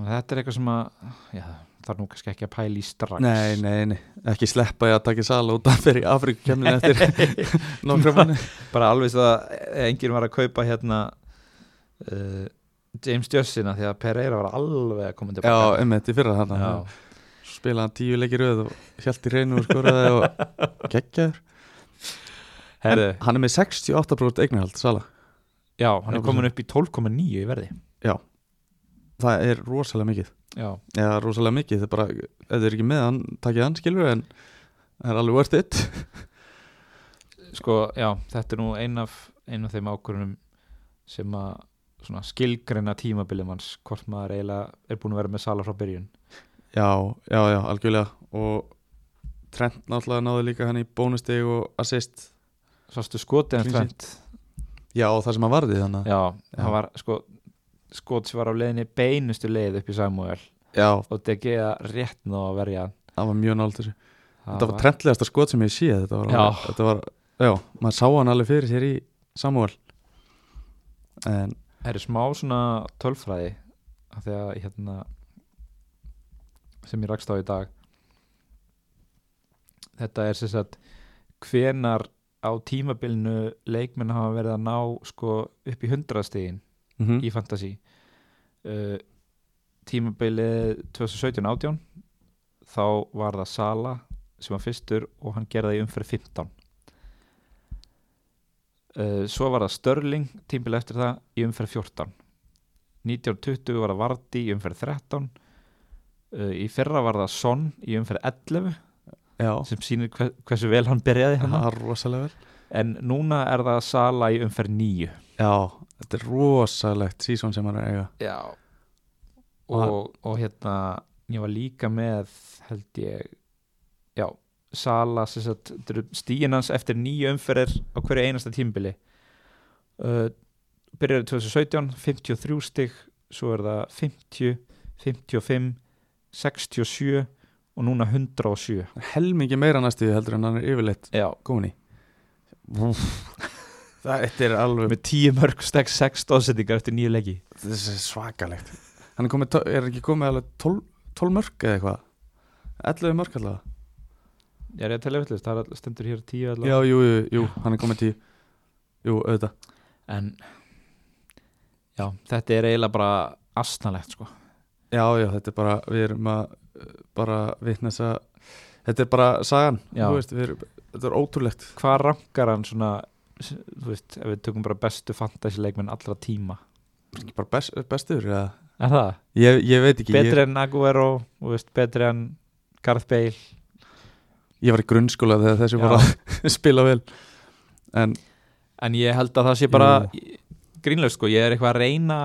A: Og Þetta er eitthvað sem að já, það er nú kannski ekki að pæla í strax
B: nei, nei, nei, ekki sleppa ég að taka Sala út að fer í Afrikakefna eftir nokkra manni
A: Bara alveg svo að enginn var að kaupa hérna uh, James Jössina því að Pereira var alveg að koma
B: já,
A: tilbaka
B: emmitt í fyrra þarna
A: Já.
B: spilaði hann tíu leikir röð og hjælt í reynu og skoraði og geggjaður
A: Herðu,
B: En Hann er með 68% eignarhald, Sala
A: já, hann er
B: Já,
A: komin upp í 12,9 í verði
B: Það er rosalega mikið
A: Já,
B: Já, rosalega mikið, það er bara ef þið er ekki með hann, takkið hann, skilur en það er alveg worth it
A: sko, já, þetta er nú ein af, ein af þeim ákvörunum sem að svona skilgreina tímabilið manns hvort maður eiginlega er búin að vera með sala frá byrjun
B: Já, já, já, algjörlega og Trent náttúrulega náði líka hann í bónusteg og assist
A: Sástu skotið hans
B: Clean
A: Trent
B: Já, og það sem hann varði þannig að-
A: Já,
B: Já.
A: hann var sko skot sem var á leiðinni beinustu leið upp í Samuel
B: Já,
A: og DG rétt ná að verja hann.
B: það var mjög nált þessu
A: Það
B: Þetta var trendlegasta skot sem ég séð þetta var,
A: Já.
B: alveg- þetta var, já, maður sá hann alveg fyrir sér í Samuel En,
A: Það eru smá svona tölfræði af því að hérna sem ég rakst á í dag þetta er sem sagt hvenar á tímabilinu leikmenn hafa verið að ná sko upp í hundraðstegin
B: mhm,
A: í fantasy uh, tímabilið 2017-18 þá var það Sala sem var fyrstur og hann gerði það í umferð 15 uh, svo var það Störling tímabilið eftir það í umferð 14 1920 var það Vardi í umferð 13 uh, í fyrra var það Son í umferð 11
B: já
A: sem sýnir hver, hversu vel hann byrjaði
B: Það
A: hann
B: var rosalega vel
A: en núna er það Sala í umferð 9
B: Já, þetta er rosalegt sísón sem hann er að eiga
A: Já
B: Og-
A: og, og hérna ég var líka með held ég já, Sala sem sagt, þetta eru stíin hans eftir nýju umferðir á hverju einasta tímbili uh, byrjar 2017 53 stig, svo er það 50, 55 67 og núna 107
B: Helmingi meira næstuði heldur en hann er yfirleitt
A: Já,
B: komin í Úff. Það þetta er alveg
A: með 10 mörg stegg 6 stóðsendingar eftir nýju leggi
B: Þetta er svakalegt Hann er, komið, er ekki komið alveg 12, 12 mörg eða eitthvað 11 mörg allavega
A: Ég er ég að tella villist, það er all- stendur hér 10 allavega
B: Já, jú, jú, jú, hann er komið 10 Jú, auðvitað
A: en já, þetta er eiginlega bara astnalegt sko
B: Já, já, þetta er bara, við erum að uh, bara vitna þess að Þetta er bara sagan,
A: Já.
B: þú veist, við erum, þetta er ótrúlegt
A: hvað rankar hann svona s- þú veist, ef við tökum bara bestu fantasy leikmenn allra tíma
B: Ekki bara best, bestur, eða
A: er það?
B: Ég, ég veit ekki,
A: betri en Aguero, þú veist, betri en Garth Bale
B: ég, ég var í grunnskóla þegar þessi
A: Já.
B: var að spila vel En,
A: en ég held að það sé bara grínlega sko, ég er eitthvað að reyna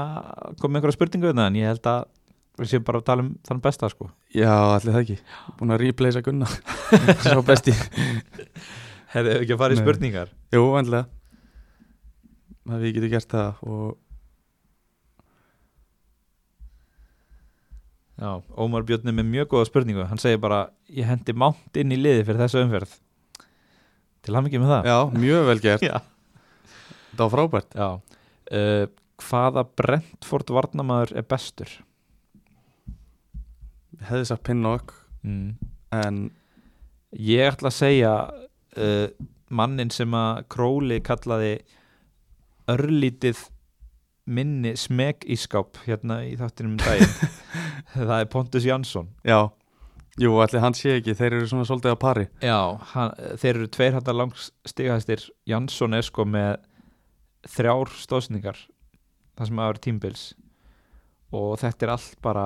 A: að koma með einhverja spurningu við það en ég held að við séum bara að tala um þann besta sko
B: já, allir það ekki Búin að replacea Gunna Svo besti
A: hefur ekki að fara
B: í
A: spurningar
B: Jú, vanlega að við getum gert það og
A: já, Ómar Björn er með mjög góða spurningu hann segir bara, ég hendi mánt inn í liði fyrir þessa umferð til hann með það
B: já, mjög vel gert
A: Já,
B: það var frábært
A: já. Uh, Hvaða Brentford varnamaður er bestur?
B: Ég hefði sagt Pinnock en
A: Ég ætla að segja uh, mannin sem að Króli kallaði örlítið minni smeg í skáp hérna í þáttinum um daginn það er Pontus Jansson
B: já, jú, allir hann sé ekki þeir eru svona svolítið að pari
A: Já, hann, þeir eru tveir hættar langs stigahæstir Jansson er sko með þrjár stóðsningar það sem að vera tímbils og þetta er allt bara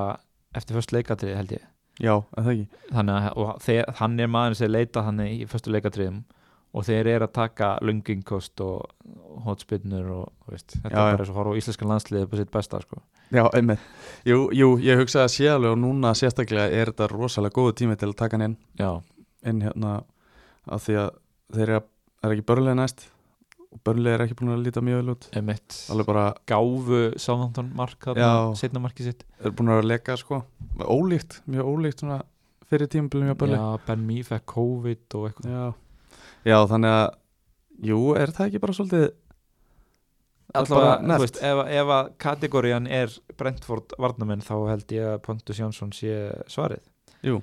A: eftir fyrst leikatrið held ég
B: já, er það ekki
A: þannig að og þeir, hann er maður sem leita þannig í fyrstu leikatriðum og þeir eru að taka lunginkost og hotspinnur og þú veist, þetta
B: Já,
A: er
B: já.
A: bara eins og horfa á íslenskan landsliðið upp á sitt besta sko.
B: já, einmitt jú, jú, ég hugsa að sé alveg og núna sérstaklega er þetta rosalega góðu tími til að taka hann inn
A: já,
B: inn hérna af því að þeir eru að, það er ekki börnlega næst og börnlega er ekki búin að líta mjög vel út
A: emitt
B: alveg bara,
A: gáfu Sáðantón mark
B: Já.
A: setna markið sitt
B: er búin að leka sko ólíkt, mjög ólíkt svona fyrir tímabilum hjá börnlega
A: já, Ben Mee fekk COVID og eitthvað
B: Já. sko. Já, þannig að Jú, er það ekki bara svolítið
A: allavega,
B: bara
A: þú
B: neft.
A: veist, ef, ef að kategórian er Brentford varnamenn þá held ég að Pontus Jansson sé svarið
B: Jú.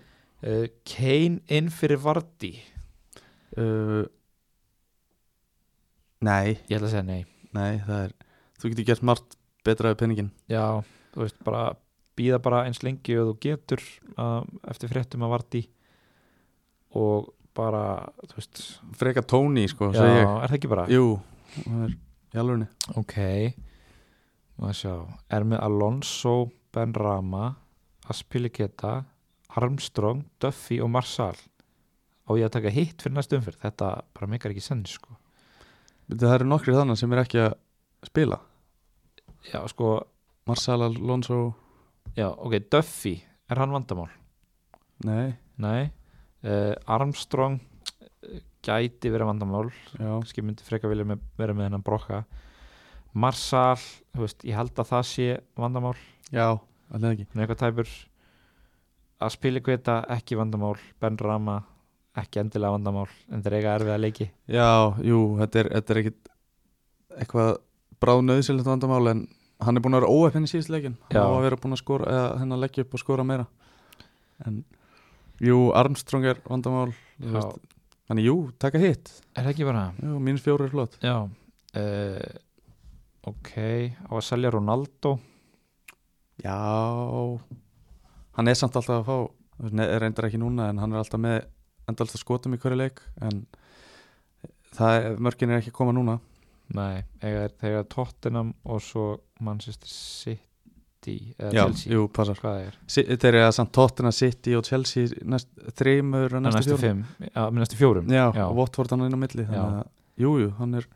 A: Eh, Kane inn fyrir Vardi ég
B: uh, Nei,
A: ætla að segja nei
B: nei, það er Þú getur gert margt betra við penningin
A: já, þú veist, bara býða bara eins lengi og þú getur um, eftir fréttum að Vardi og bara þú veist,
B: Freka Tony, sko,
A: já,
B: segi
A: er
B: ég
A: það ekki bara
B: Jú, það er í alvörni
A: ok Má sjá, er með Alonso Ben Rama, Aspiliketa Armstrong, Duffy og Marsal á ég að taka hitt fyrir næstu umfyrir, þetta bara meikar ekki senn sko.
B: Það eru nokkri þannig sem er ekki að spila
A: já sko,
B: Marcel Alonso
A: já ok Duffy, er hann vandamál?
B: Nei,
A: Nei, uh, Armstrong eh, gæti verið vandamál
B: já,
A: kannski myndi frekar vilja með, vera með hennan brokka Marsal, þú veist, ég held að það sé vandamál
B: já, alveg ekki
A: með eitthvað tæpur að spila kvita ekki vandamál Ben Rama ekki endilega vandamál en þeir eiga erfið að leiki
B: Já, jú, þetta er, þetta er ekkit eitthvað bráðnöðsilegt vandamál en hann er búin að vera óöfn í síðust leikin
A: Já.
B: hann á að vera búin að skora eða henn að leggja upp og skora meira en jú, Armstrong er vandamál þú
A: Já,
B: veist. þannig jú, taka hitt
A: er það ekki bara
B: jú, mínus fjóru er flott
A: já uh, ok, á að selja Ronaldo
B: Já hann er samt alltaf að fá þú veist, ne- reyndar ekki núna en hann er alltaf með endalst að skotum í hverju leik en það er, mörkin er ekki að koma núna
A: nei, eiga þeir eiga Tottenham og svo Manchester City eða
B: Já,
A: Chelsea,
B: jú, passar
A: hvað það er
B: Si- Þeir eru að samt Tottenham City og Chelsea næst, þreymur og
A: næstu,
B: næstu
A: næstu
B: fjórum
A: fimm, já, með næstu fjórum
B: Já, og Watford hann er inn á milli þannig
A: Já.
B: að, Jú, jú, hann er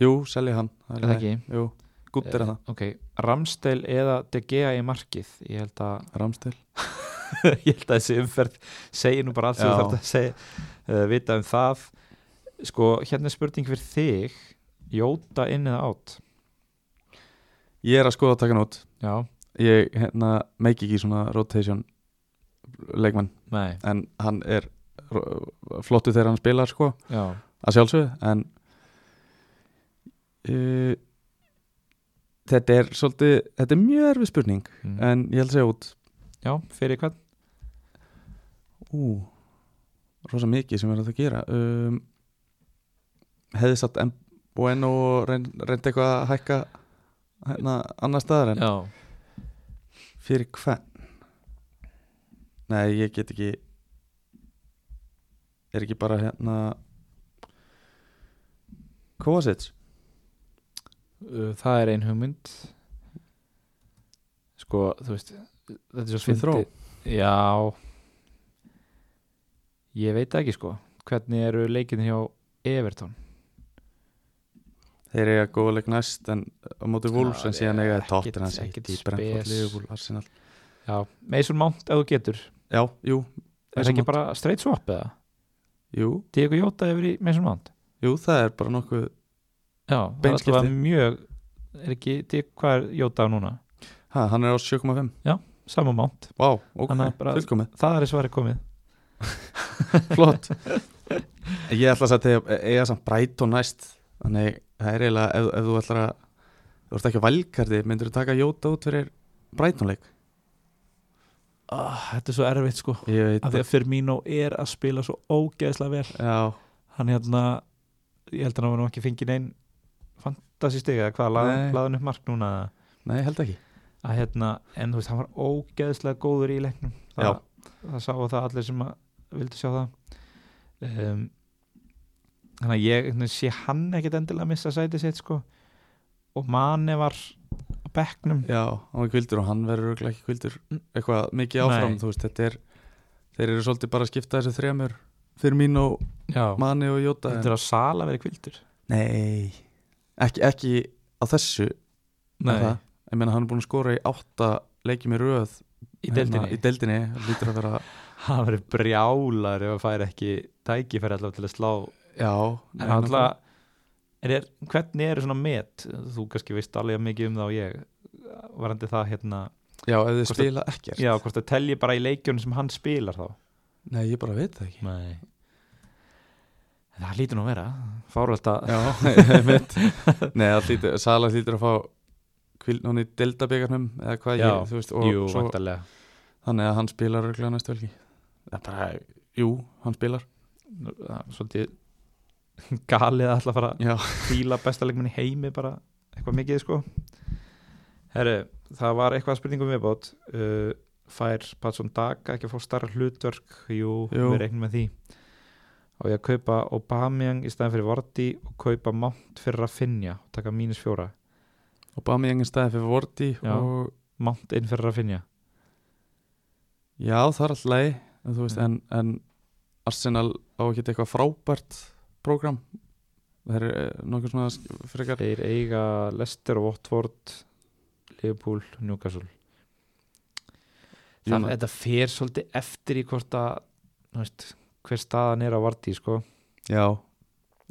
B: Jú, selja hann
A: er það ekki
B: Jú, gutt er
A: Eh,
B: það,
A: ok, Ramsdale eða De Gea í markið ég held að,
B: Ramstil
A: ég held að þessi umferð segir nú bara allt sem
B: Já.
A: þú þarf að segja, uh, vita um það sko, hérna er spurning fyrir þig Jóta inn eða átt
B: Ég er að skoða að taka nót
A: já,
B: Ég hérna, meiki ekki svona rotation leikmann,
A: nei,
B: en hann er ro- flottur þegar hann spilar sko,
A: já
B: að sjálfsögðu en uh, þetta er svolítið, þetta er mjög erfið spurning
A: mm.
B: en ég held að segja út
A: já, fyrir hvern
B: Ú, rosa mikið sem er hægt að gera um, Hefði satt M Bueno og reynd, reyndi eitthvað að hækka hérna annar staðar en
A: já,
B: fyrir hvern Nei, ég get ekki er ekki bara hérna Kovacic
A: uh, það er ein hugmynd sko, þú veist þetta er svo
B: Smith Rowe.
A: fyndið. já ég veit ekki sko hvernig eru leikinir hjá Everton
B: Þeir eiga góða leik næst en á móti
A: Já,
B: Wolves en síðan eiga
A: ekkit-
B: þeir tóttir hans
A: ekkit
B: eitt í Brentford
A: spes.
B: Liverpool, Arsenal
A: já, Mason Mount ef þú getur
B: Já, jú,
A: Er það
B: Mason
A: ekki
B: Mount.
A: bara straight swap eða?
B: jú,
A: Diego Jota yfir í Mason Mount?
B: jú, það er bara nokkuð
A: Já, það er
B: Beinskipti.
A: alltaf mjög er ekki, Diego, hvað er Jota á núna?
B: ha, Hann er á 7,5
A: Sama Mount,
B: Vá, ok,
A: Þannig að bara-
B: fullkomið,
A: það er svarið komið
B: flott Ég ætla að segja að þegar eiga samt Brighton næst Þannig það er eiginlega ef, ef þú ætlar að þú ert ekki á valkardi, myndir þú taka Jóta út fyrir Brightonleik
A: ah, Þetta er svo erfitt sko
B: Ég veit
A: af því að Firmino er að spila svo ógeðslega vel
B: Já,
A: hann hérna, ég held að hann var nú ekki fengið neinn fantasy stiga eða hvað,
B: Nei.
A: laðan upp mark núna
B: nei, held ekki
A: að hérna, en þú veist, hann var ógeðslega góður í leiknum það, það sá það allir sem að vildu sjá það um, þannig að ég einhvern veginn sé hann ekkit endilega að missa sætið sitt sko og manni var á bekknum
B: Já, hann var kvildur og hann verður örugglega ekki kvildur
A: Mm.
B: eitthvað mikið
A: Nei.
B: áfram, þú veist, þetta er þeir eru svolítið bara að skipta þessu þremur fyrir mín og
A: já,
B: manni og Jóta
A: þetta er að sala verið kvildur
B: Nei, ekki, ekki á þessu Er það? Ég meina hann er búin að skora í átta leikjum í röð
A: í
B: hérna,
A: deildinni
B: Í deildinni, hann lítur að vera
A: hann verið brjálar ef að færi ekki tækifæri allavega til að slá
B: Já
A: en alltaf er, er, hvernig eru svona met þú kannski veist alveg mikið um það og ég varandi það hérna
B: Já, ef þið
A: Hvort
B: spila ekkert
A: Já, hvort það telji bara í leikjunum sem hann spilar þá
B: Nei, ég bara veit það ekki
A: Nei Það lítur nú að vera Fáröld að
B: Já, ég veit Nei, það lítur, Sala lítur að fá kvíld hún í deildabíkarnum eða hvað
A: Já,
B: ég, þú veist og
A: Jú,
B: svo,
A: vantarlega
B: Þannig að hann spilar örglega næstu velki Það er bara, jú, hann spilar
A: Svolítið galið að alltaf fara
B: Já,
A: að fíla besta leikmenn í heimi bara eitthvað mikið sko Herru, það var eitthvað spurningum viðbót uh, Fær Patson Daga ekki að fá starra hlutverk Jú,
B: Jú.
A: við reiknum með því Á ég að kaupa Aubameyang í staðan fyrir Vorti og kaupa Mount fyrir að finja og taka mínus fjóra
B: og Bami engin staði fyrir Vorti
A: Já.
B: og
A: Mount inn fyrir að finja
B: já, það er alltaf leið en, þú veist,
A: Mm.
B: en, en Arsenal á ekki eitthvað frábært prógram það er eh, nokkuð svona sk- frekar
A: Þeir eiga Leicester og Watford Liverpool, Newcastle það,
B: Júna.
A: þetta fer svolítið eftir í hvort að þú veist, hver staðan er á Vardí sko.
B: já,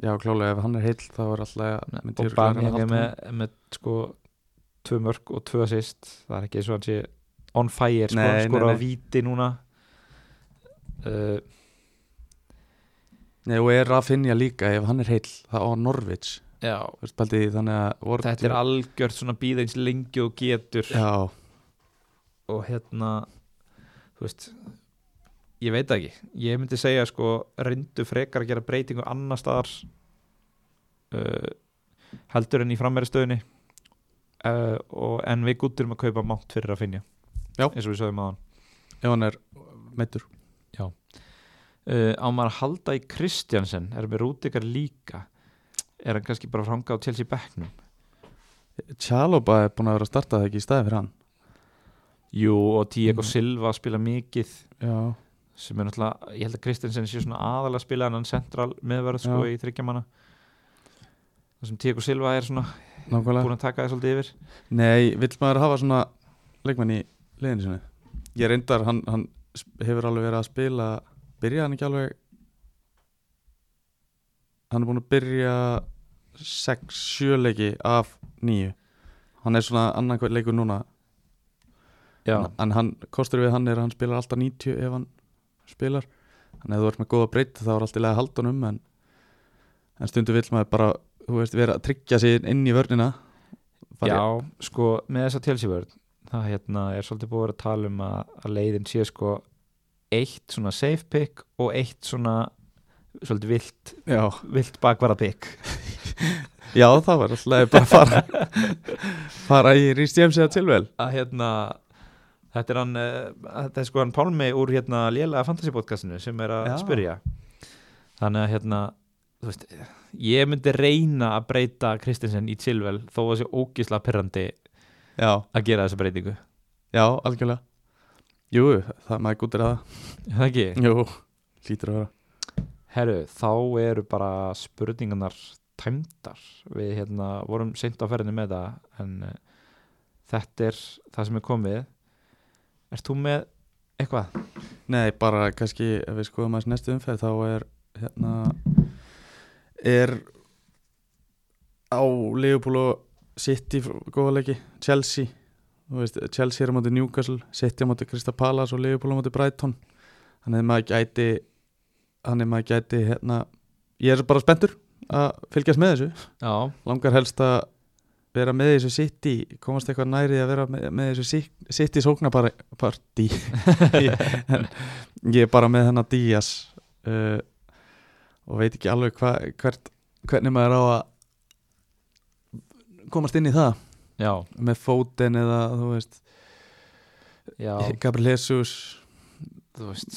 B: já klálega ef hann er heill þá er alltaf myndi
A: og
B: örugglega
A: Bami
B: reyna að
A: er
B: halda honum.
A: með, með sko, tvö mörg og tvö assist það er ekki eins og hann sé on fire sko,
B: Nei, nei,
A: skora á
B: nei.
A: víti núna uh,
B: Nei, og er Rafinha líka ef hann er heill það á Norvids
A: já,
B: þannig að voru
A: þetta er algjört svona býða eins lengi og getur
B: já,
A: og hérna þú veist ég veit það ekki, ég myndi segja sko reyndu frekar að gera breytingu annar staðar uh, heldur en í frammeira stöðunni uh, og en við gútturum að kaupa mátt fyrir að finja
B: Já.
A: eins og við sögum aðan
B: ef hann er meittur
A: uh, á maður að halda í Kristjansen er með Rúdikar líka er hann kannski bara franga á Chelsea bekknum
B: Tjálóba er búin að vera að starta það ekki í staði fyrir hann
A: Jú og Diego
B: Mm.
A: Silva spila mikið
B: já,
A: sem er náttúrulega, ég held að Kristensen sé svona aðalega að spila en hann central meðverð sko í þryggjamanna það sem Tíko Silva er svona
B: nákvæmlega
A: búin að taka það svolítið yfir
B: Nei, vill maður hafa svona leikmann í liðinu sinni Ég reyndar, hann, hann sp- hefur alveg verið að spila byrja hann ekki alveg hann er búin að byrja 6-7 leiki af 9 hann er svona annan hver leikur núna en, en hann, kostur við hann er að hann spilar alltaf 90 ef hann spilar en ef þú ert með góða breytt þá er alltaf lega haldunum en, en stundu vill maður bara þú veist, vera að tryggja sig inn í vörnina
A: já, sko með þessa télsivörð það hérna er svolítið búin að vera að tala um að, að leiðin sé sko eitt svona safe pick og eitt svona svolítið vilt,
B: já.
A: vilt bakvara pick
B: Já, það var alltaf bara að fara fara í Rís James eða tilvel
A: að hérna þetta er hann, eh, þetta er sko hann Pálmi úr hérna lélega fantasy podcastinu sem er að
B: Já.
A: spyrja þannig að hérna þú veist, ég myndi reyna að breyta Kristinsen í Silvel þó að sé ógisla perrandi
B: Já,
A: að gera þessa breytingu
B: já, algjörlega Jú, það maður gútir að
A: Er það ekki?
B: það Jú, hlýtur að vera
A: Herru, þá eru bara spurningarnar tæmdar við hérna vorum seint á ferðinni með það en eh, þetta er það sem er komið Ert þú með eitthvað?
B: Nei, bara kannski ef við skoðum aðeins næstu umferð þá er hérna er á Leopold og City fr- góða leiki, Chelsea þú veist, Chelsea er á móti Newcastle City á móti Krista Palace og Leopold á móti Brighton þannig að maður gæti þannig að maður gæti hérna ég er bara spenntur að fylgjast með þessu
A: Já,
B: langar helst að vera með í þessu City komast eitthvað nærið að vera með, með í þessu Sit- City sóknapartí en ég er bara með hennar Díaz uh, og veit ekki alveg hva, hvert, hvernig maður á að komast inn í það
A: já,
B: með fóten eða þú veist
A: já
B: Gabriel Jesus
A: þú veist,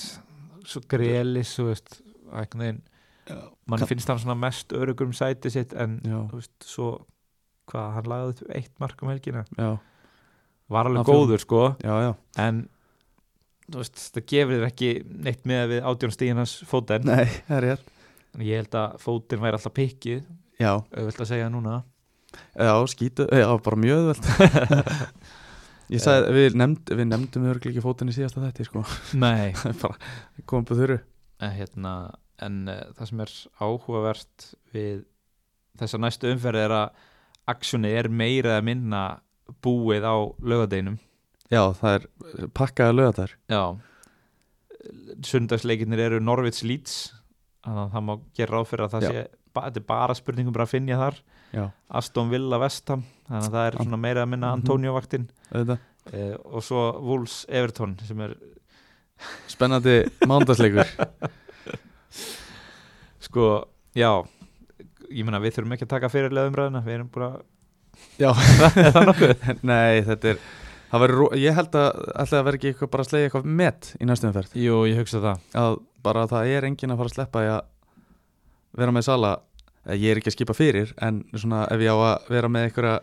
A: svo grelis þú veist, einhvern veginn mann
B: Kann-
A: finnst hann svona mest örugur um sæti sitt en
B: já,
A: þú veist, svo hvað, hann lagði upp eitt mark um helgina
B: já,
A: var alveg
B: Hann fór-
A: góður sko,
B: já, já.
A: en þú veist, það gefur þér ekki neitt með við átjónstíðin hans fóten
B: Nei, það er rétt
A: en ég held að fótinn væri alltaf pikkið
B: já,
A: auðvitað að segja núna
B: já, skítu, já, bara mjög öðvöld ég sagði, við, nefnd, við nefndum örgl ekki fóten í síðasta þetta sko,
A: nei,
B: bara komum på þurru
A: en hérna en uh, það sem er áhugavert við þessa næstu umferð er að aksjoni er meira að minna búið á lögadeinum
B: já, það er pakkaða löða þar
A: Já Sundagsleikinnir eru Norvits Leeds þannig að það má gera ráð fyrir að það
B: Já.
A: sé ba, þetta er bara spurningum bara að finja þar
B: já,
A: Aston Villa Vestham þannig að það er
B: An-
A: svona meira að minna
B: Mhm.
A: Antonio vaktin
B: auðvitað
A: eh, og svo Wolves Everton sem er
B: spennandi mándagsleikur
A: sko, já ég meina við þurfum ekki að taka fyrirlega umræðina við erum bara
B: Já.
A: Er það nokkuð
B: Nei, þetta er það verður, ro- ég held að ætlaði að vera ekki eitthvað bara að slegja eitthvað met í næstum umferð
A: Jú, ég hugsa það
B: að bara það er enginn að fara að sleppa í að vera með sala Eh, ég er ekki að skipa fyrir en svona ef ég á að vera með einhverja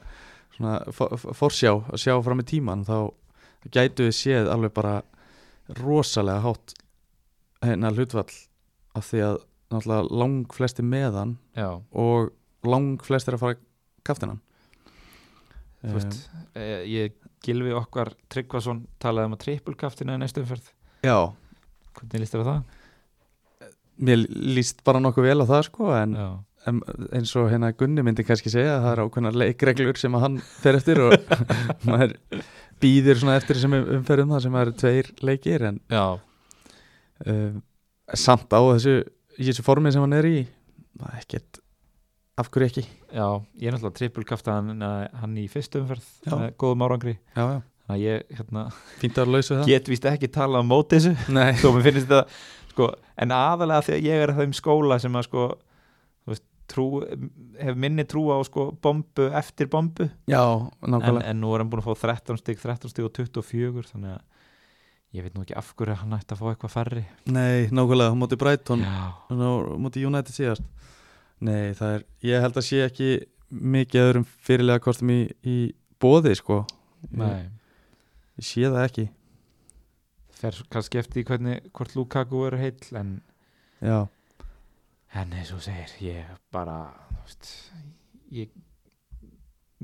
B: svona fo- fo- forsjá að sjá fram í tíman þá gætu við séð alveg bara rosalega hátt hérna hlutvall af því að náttúrulega lang flesti meðan
A: Já,
B: og lang flestir að fara kaftinan
A: Þú veist, eh, ég gilfi okkar Tryggvason talaði um að trippulkaftina í næstu umferð
B: já,
A: hvernig líst þér á það?
B: mér líst bara nokkuð vel á það sko en,
A: Já.
B: en eins og hérna Gunni myndi kannski segja að það er ákveðnar leikreglur sem að hann fer eftir og maður býðir svona eftir sem umferðum það sem það eru tveir leikir en
A: Já,
B: uh, samt á þessu í þessu formi sem hann er í það er ekkert, af hverju ekki
A: já, ég er náttúrulega trippulkafta hann, eh, hann í fyrstu umferð
B: Já.
A: með góðum árangri
B: já, já,
A: þannig að ég hérna,
B: fínt að lausa það
A: get víst ekki tala á móti þessu
B: nei,
A: þó mér finnst þetta sko, en aðalega því að ég er á þeim skóla sem að sko þú veist, trú, hef minni trú á sko bombu eftir bombu
B: já,
A: en,
B: nákvæmlega
A: en nú er hann búin að fá 13 stig 13 stig og 24 þannig að ég veit nú ekki af hverju hann ætti að fá eitthvað færri
B: nei, nákvæmlega, hún móti Brighton
A: já,
B: hún á- móti United síðast nei, það er, ég held að sé ekki mikið öðrum fyrirlega kostum í, í bóði, sko ég,
A: nei
B: ég sé það ekki
A: fer svo kannski eftir því hvernig hvort Lukaku er heill en
B: já,
A: en eins og þú segir, ég bara þú veist, ég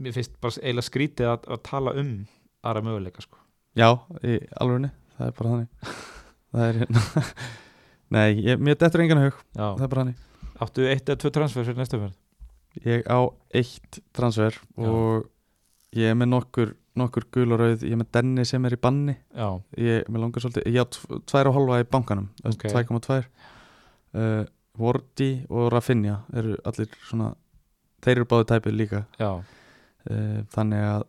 A: mér finnst bara eiginlega skrítið að, að tala um aðra möguleika sko
B: já, í alvegni það er bara þannig það er, hérna nei, ég, mér dettur engan í hug,
A: já.
B: það er bara þannig
A: Áttu eitt eða tvö transfer fyrir næstu umferð?
B: Ég á eitt transfer
A: Já.
B: og ég er með nokkur, nokkur gul og rauð, ég er með Denni sem er í banni
A: Já,
B: ég, mér langar svolítið, ég á tv- tvær og halva í bankanum,
A: Ok.
B: okay. 2,2 uh, Vordi og Rafinha eru allir svona þeir eru báði tæpið líka
A: já,
B: uh, þannig að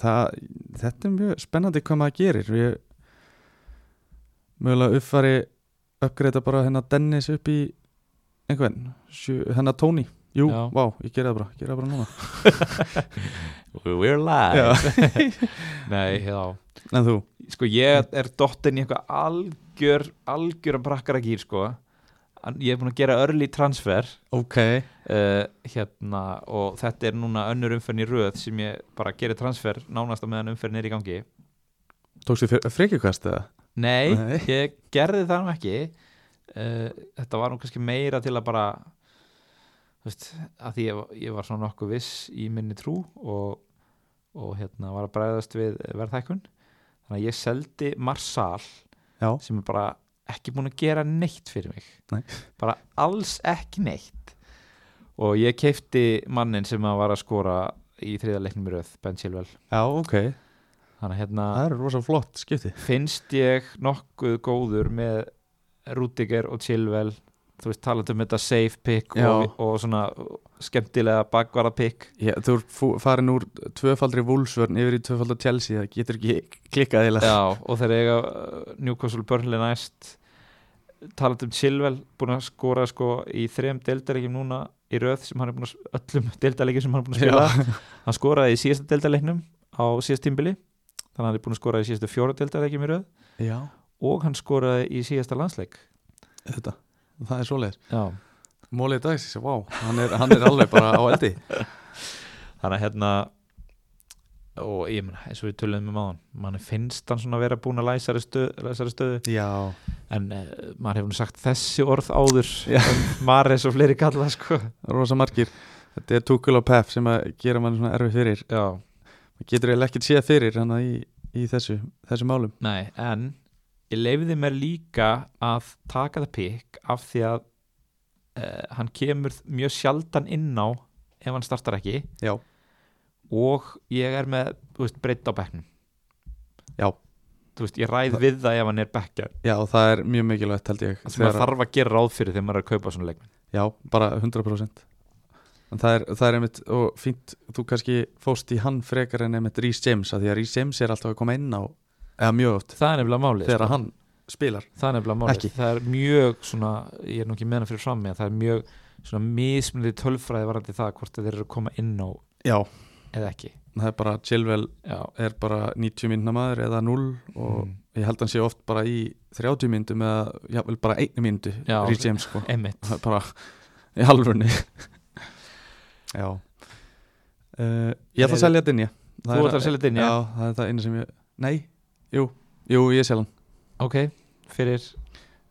B: það, þetta er mjög spennandi hvað maður gerir við mögulega uppfari uppgreita bara hennar Dennis upp í einhvern, sjö- hennar Tony Jú,
A: Já.
B: vá, ég gera það bara, gera það bara núna
A: We're live Nei, já
B: En þú?
A: Sko ég er dottinn í eitthvað algjör algjör að brakkara gýr sko En Ég er búin að gera örli transfer
B: Ok
A: uh, hérna og þetta er núna önnur umferðin í röð sem ég bara gerir transfer nánast á meðan umferðin er í gangi
B: Tókstu frekjukast eða?
A: Nei,
B: Nei.
A: ég gerði það nú ekki uh, Þetta var nú kannski meira til að bara þú veist, að því ég, var- ég var svona nokkuð viss í minni trú og, og hérna var að bregðast við verðhækkun þannig að ég seldi Marsal
B: Já,
A: sem er bara ekki búin að gera neitt fyrir mig
B: Nei.
A: bara alls ekki neitt og ég keipti mannin sem að var að skora í þriða leiknum í röð, Ben Silvel
B: já ok
A: þannig að hérna
B: Það er rosa flott skipti
A: finnst ég nokkuð góður með Rudiger og Chilwell þú veist talandi um þetta safe pick og,
B: Já.
A: og svona skemmtilega bakvara pick
B: Já, þú er fú- farin úr tvöfaldri vúlsvörn yfir í tvöfaldra Chelsea það getur ekki klikkað eða
A: Já, og þegar eiga uh, Newcastle Burnley næst talandi um Chilwell búin að skora sko í þrem deildaríkjum núna í röð sem hann er búin að sp- öllum deildaríkjum sem hann er búin að spila hann skoraði í síðasta deildaríknum á síðast tímbili þannig að hann er búin að skora í síðasta fjóra deildaríkjum í röð
B: Já,
A: og hann skoraði í síðasta landsleik
B: þetta Það er svoleiðis
A: Já
B: Mólið dagsins, vá, hann er, hann er alveg bara á eldi
A: þannig að hérna og ég meina, eins og við töluðum um áðan mann finnst hann svona að vera búin að læsari stöðu, læsari stöðu.
B: Já,
A: en uh, maður hefur nú sagt þessi orð áður
B: Já.
A: um Mares og fleiri kalla sko.
B: rosa margir Þetta er Tukul og Pep sem að gera mann svona erfið fyrir
A: já,
B: Maður getur eiginlega ekkert séð fyrir hann í, í þessu, þessu málum
A: nei, en ég leifiði mér líka að taka það pikk af því að uh, hann kemur mjög sjaldan inn á ef hann startar ekki
B: Já,
A: og ég er með þú veist, breytt á bekknum
B: Já.
A: þú veist, ég ræð við það ef hann er bekkjar
B: já það er mjög mikilvægt held ég
A: sem maður
B: Þegar-
A: þarf að gera ráð fyrir þegar maður er að kaupa svona leikmenn
B: Já, bara 100% En það er, það er einmitt og fínt þú kannski fóst í hann frekar en einmitt Rhys James að því að Rhys James er alltaf að koma inn á eða mjög oft
A: Það er nefnilega málið sko.
B: þegar hann spilar
A: Það er nefnilega málið
B: Ekki.
A: Það er mjög svona, ég er nú ekki meðan fyrir fram með það er mjög svona mismunandi tölfræði varandi það hvort þeir eru að koma inn á
B: Já,
A: eða ekki
B: það er bara Chilwell
A: Já,
B: er bara 90 minna maður eða 0 og
A: Mm.
B: ég held hann sé oft bara í 30 myndum eða jável bara einu myndu
A: Já.
B: Rhys James sko
A: emmitt
B: það er bara í halvunni Já uh, Ég ætla að selja þetta inn ég
A: Þú ætlar að selja þetta inn, já.
B: Já, það er það einu sem ég Nei, jú, jú, ég selja hann
A: Ok, fyrir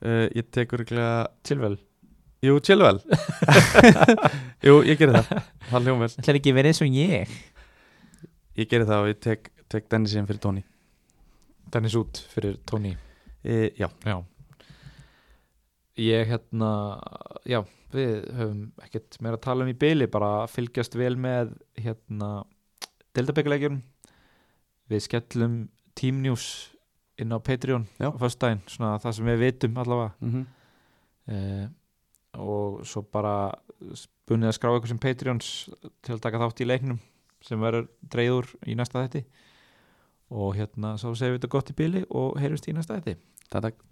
B: Uh, ég tek örgulega
A: tilvel
B: Jú, Chilwell Jú, ég gerir það Það hljóðum vel
A: Það er ekki verið eins og ég
B: ég geri það og ég tek, tek Dennis inn fyrir Tony
A: Dennis út fyrir Tony
B: e, Já,
A: Já Ég hérna Já, við höfum ekkert meira að tala um í byli bara að fylgjast vel með hérna deltabyggulegjum við skellum Team News inn á Patreon
B: Já.
A: á föstudaginn, svona það sem við vitum allavega
B: mm
A: eh, og svo bara spunnið að skrá ykkur sem Patreons til að taka þátt í leiknum sem verður dreigður í næsta þætti og hérna svo segjum við þetta gott í byli og heyrjumst í næsta þætti
B: það takk